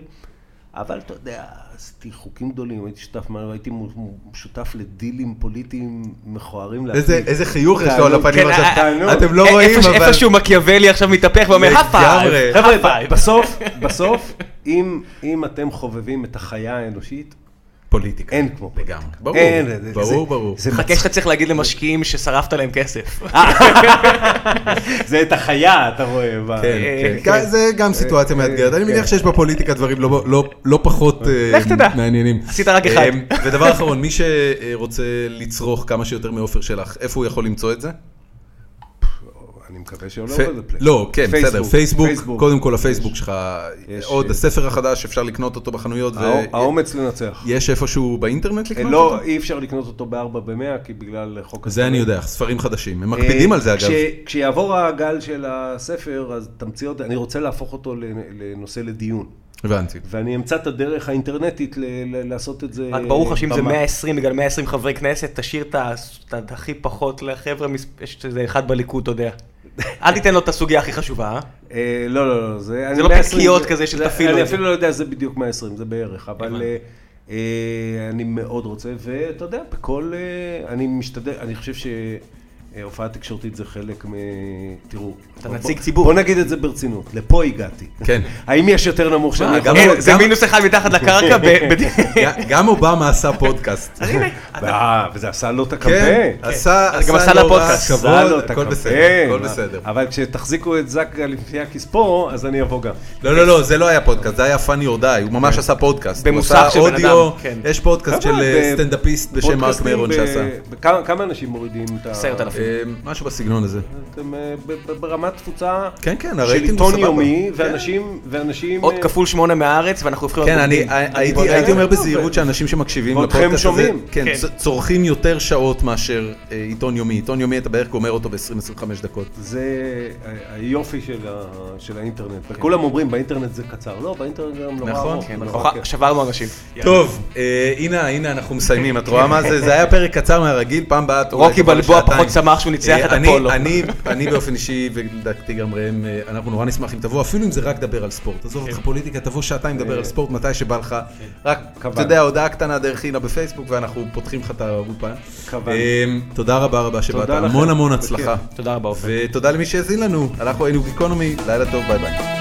S3: אבל אתה יודע, עשיתי חוקים גדולים, הייתי שותף, מה- הייתי מו- מו- שותף לדילים פוליטיים מכוערים.
S1: איזה
S3: להפליא.
S1: איזה חיוך יש לו על
S3: תענוג.
S1: הפנים
S2: כן,
S1: עכשיו.
S2: אה,
S3: תענוג.
S1: אתם לא
S2: א-
S1: רואים,
S2: איפש-
S1: אבל...
S2: איפשהו מקיאוולי עכשיו מתהפך ואומר, הפייב,
S1: לגמרי.
S2: חבר'ה,
S3: בסוף, בסוף, אם, אם אתם חובבים את החיה האנושית,
S1: פוליטיקה.
S3: אין כמו פוליטיקה.
S1: לגמרי. ברור,
S3: אין, זה-
S1: ברור,
S3: זה-
S1: ברור.
S3: זה
S2: חכה שאתה צריך להגיד למשקיעים ששרפת להם כסף.
S3: אה, זה את החיה, אתה רואה. ב-
S1: כן,
S2: אה,
S1: כן. גם- זה גם
S3: אה,
S1: סיטואציה מאתגרת,
S3: כן.
S1: אני מניח שיש בפוליטיקה דברים לא- לא- לא פחות אה,
S2: לך תדע.
S1: מעניינים.
S2: עשית רק אחד.
S1: אה, ודבר אחרון, מי שרוצה לצרוך כמה שיותר מעופר שלך, איפה הוא יכול למצוא את זה?
S3: אני מקווה שלא
S1: פ-
S3: עובד הפלאט.
S1: לא, כן, בסדר, פייסבוק,
S3: פייסבוק.
S1: קודם כל הפייסבוק שלך,
S3: יש,
S1: עוד
S3: אה,
S1: הספר החדש, אפשר לקנות אותו בחנויות, ו-
S3: הא- האומץ לנצח.
S1: יש איפשהו באינטרנט
S3: אה,
S1: לקנות אותו?
S3: לא, אי אפשר לקנות אותו בארבע במאה, כי בגלל חוק...
S1: זה אני
S3: הספרים.
S1: יודע, ספרים חדשים, הם מקפידים על זה
S3: אה,
S1: אגב.
S3: כש- כשיעבור הגל של הספר, אז תמציות, אני רוצה להפוך אותו לנ- לנושא לדיון.
S1: הבנתי.
S3: ואני אמצא את הדרך האינטרנטית ל- ל- לעשות את זה.
S2: רק ברור לך שאם זה
S3: במה.
S2: 120 בגלל 120 חברי כנסת, תשאיר את ה- את ה- הכי פחות לחבר'ה, מס- יש איזה אחד בליכוד, אתה יודע. אל תיתן לו את הסוגיה הכי חשובה, אה?
S3: אה, לא, לא, לא, זה... אני
S2: לא
S3: 120
S2: פתקיות
S3: זה-
S2: כזה של
S3: זה-
S2: תפעילו
S3: אני
S2: את זה.
S3: אפילו לא יודע זה בדיוק 120, זה בערך, אבל אה, אה, אני מאוד רוצה, ואתה יודע, בכל... אה, אני משתדל, אני חושב ש... אה, הופעה תקשורתית זה חלק מ... תראו.
S2: אתה
S3: בוא-
S2: נציג ציבור.
S3: בוא נגיד את זה ברצינות, לפה הגעתי.
S1: כן.
S3: האם יש יותר נמוך שאני
S1: אה,
S3: יכול...
S1: גם-
S2: אין, זה
S1: גם-
S2: מינוס אחד מתחת לקרקע. ב- ב-
S1: ג- גם אובמה עשה פודקאסט.
S2: אז הנה,
S3: אה, וזה עשה לו את
S1: כן,
S3: הקמפיין.
S1: עשה,
S2: אז אה, גם
S1: עשה
S2: עשה
S1: לא רע,
S2: לפודקאסט.
S1: כבוד,
S3: עשה לו את
S1: הכל
S3: הקמפיין. אה,
S1: בסדר, הכל בסדר.
S3: אבל כשתחזיקו את זקה לפני הכיס פה, אז אני אבוא גם.
S1: לא, לא, לא, זה לא היה פודקאסט, זה היה פאני or die, הוא
S3: כן.
S1: ממש עשה פודקאסט. הוא
S2: במוסך
S1: עשה
S2: של בן
S1: אודיו,
S2: אדם, כן.
S1: יש פודקאסט של
S3: אבל
S1: אה,
S3: ב-
S1: סטנדאפיסט בשם מרק
S3: פודקאסטים
S1: מירון
S3: ב-
S1: שעשה.
S3: בכמה- כמה אנשים מורידים את ה...
S1: אה,
S2: 10,000.
S1: משהו בסגנון הזה.
S3: אתם אה, ב- ב- ברמת תפוצה
S1: כן, כן,
S3: של
S1: הרייטינג הוא
S3: עיתון
S1: סבבה.
S3: יומי,
S1: כן.
S3: ואנשים... ואנשים,
S2: עוד
S3: אה,
S2: כפול שמונה מהארץ, ואנחנו הופכים
S1: כן, אני
S2: בוגדים.
S1: הייתי-
S3: בודק.
S1: הייתי אומר
S3: לא,
S1: בזהירות
S3: ו-
S1: שאנשים שמקשיבים
S3: ואתכם
S1: לפודקאסט הזה,
S3: שומעים.
S1: כן,
S2: כן.
S1: צ- צורכים יותר שעות מאשר אה, עיתון יומי. עיתון יומי אתה בערך גומר אותו ב-20-25 דקות.
S3: זה ה- היופי של ה- של האינטרנט. וכולם אומרים, באינטרנט זה קצר. לא, באינטרנט זה גם נורא
S1: נכון,
S3: ארוך.
S1: כן,
S3: נורא
S2: נוחה-
S3: כיף.
S2: אוקיי. שברנו אנשים.
S1: טוב, אה, הנה, הנה אנחנו מסיימים, את רואה מה זה? זה היה פרק קצר מהרגיל, פעם באה... את רואה
S2: רוקי
S1: את כל
S2: בלבוע
S1: השעתיים.
S2: פחות שמח שהוא ניצח
S1: אה,
S2: את
S1: אני-
S2: הפולו.
S1: אני- אני באופן אישי, ולדעתי גם ראם, אה, אנחנו נורא נשמח אם תבוא, אפילו אם זה רק דבר על ספורט. עזוב
S2: כן.
S1: אותך פוליטיקה, תבוא שעתיים
S2: אה,
S1: לדבר על ספורט מתי שבא לך. רק, אתה
S3: קבענו.
S1: יודע, הודעה קטנה דרך הנה בפייסבוק, ואנחנו פותחים לך את האולפן.
S3: קבענו.
S1: אה, תודה רבה רבה שבאת,
S3: תודה לכם.
S1: המון המון
S3: בכיף.
S1: הצלחה.
S2: תודה רבה, אופן.
S1: ותודה למי שהאזין לנו, אנחנו היינו גיקונומי, לילה טוב, ביי ביי.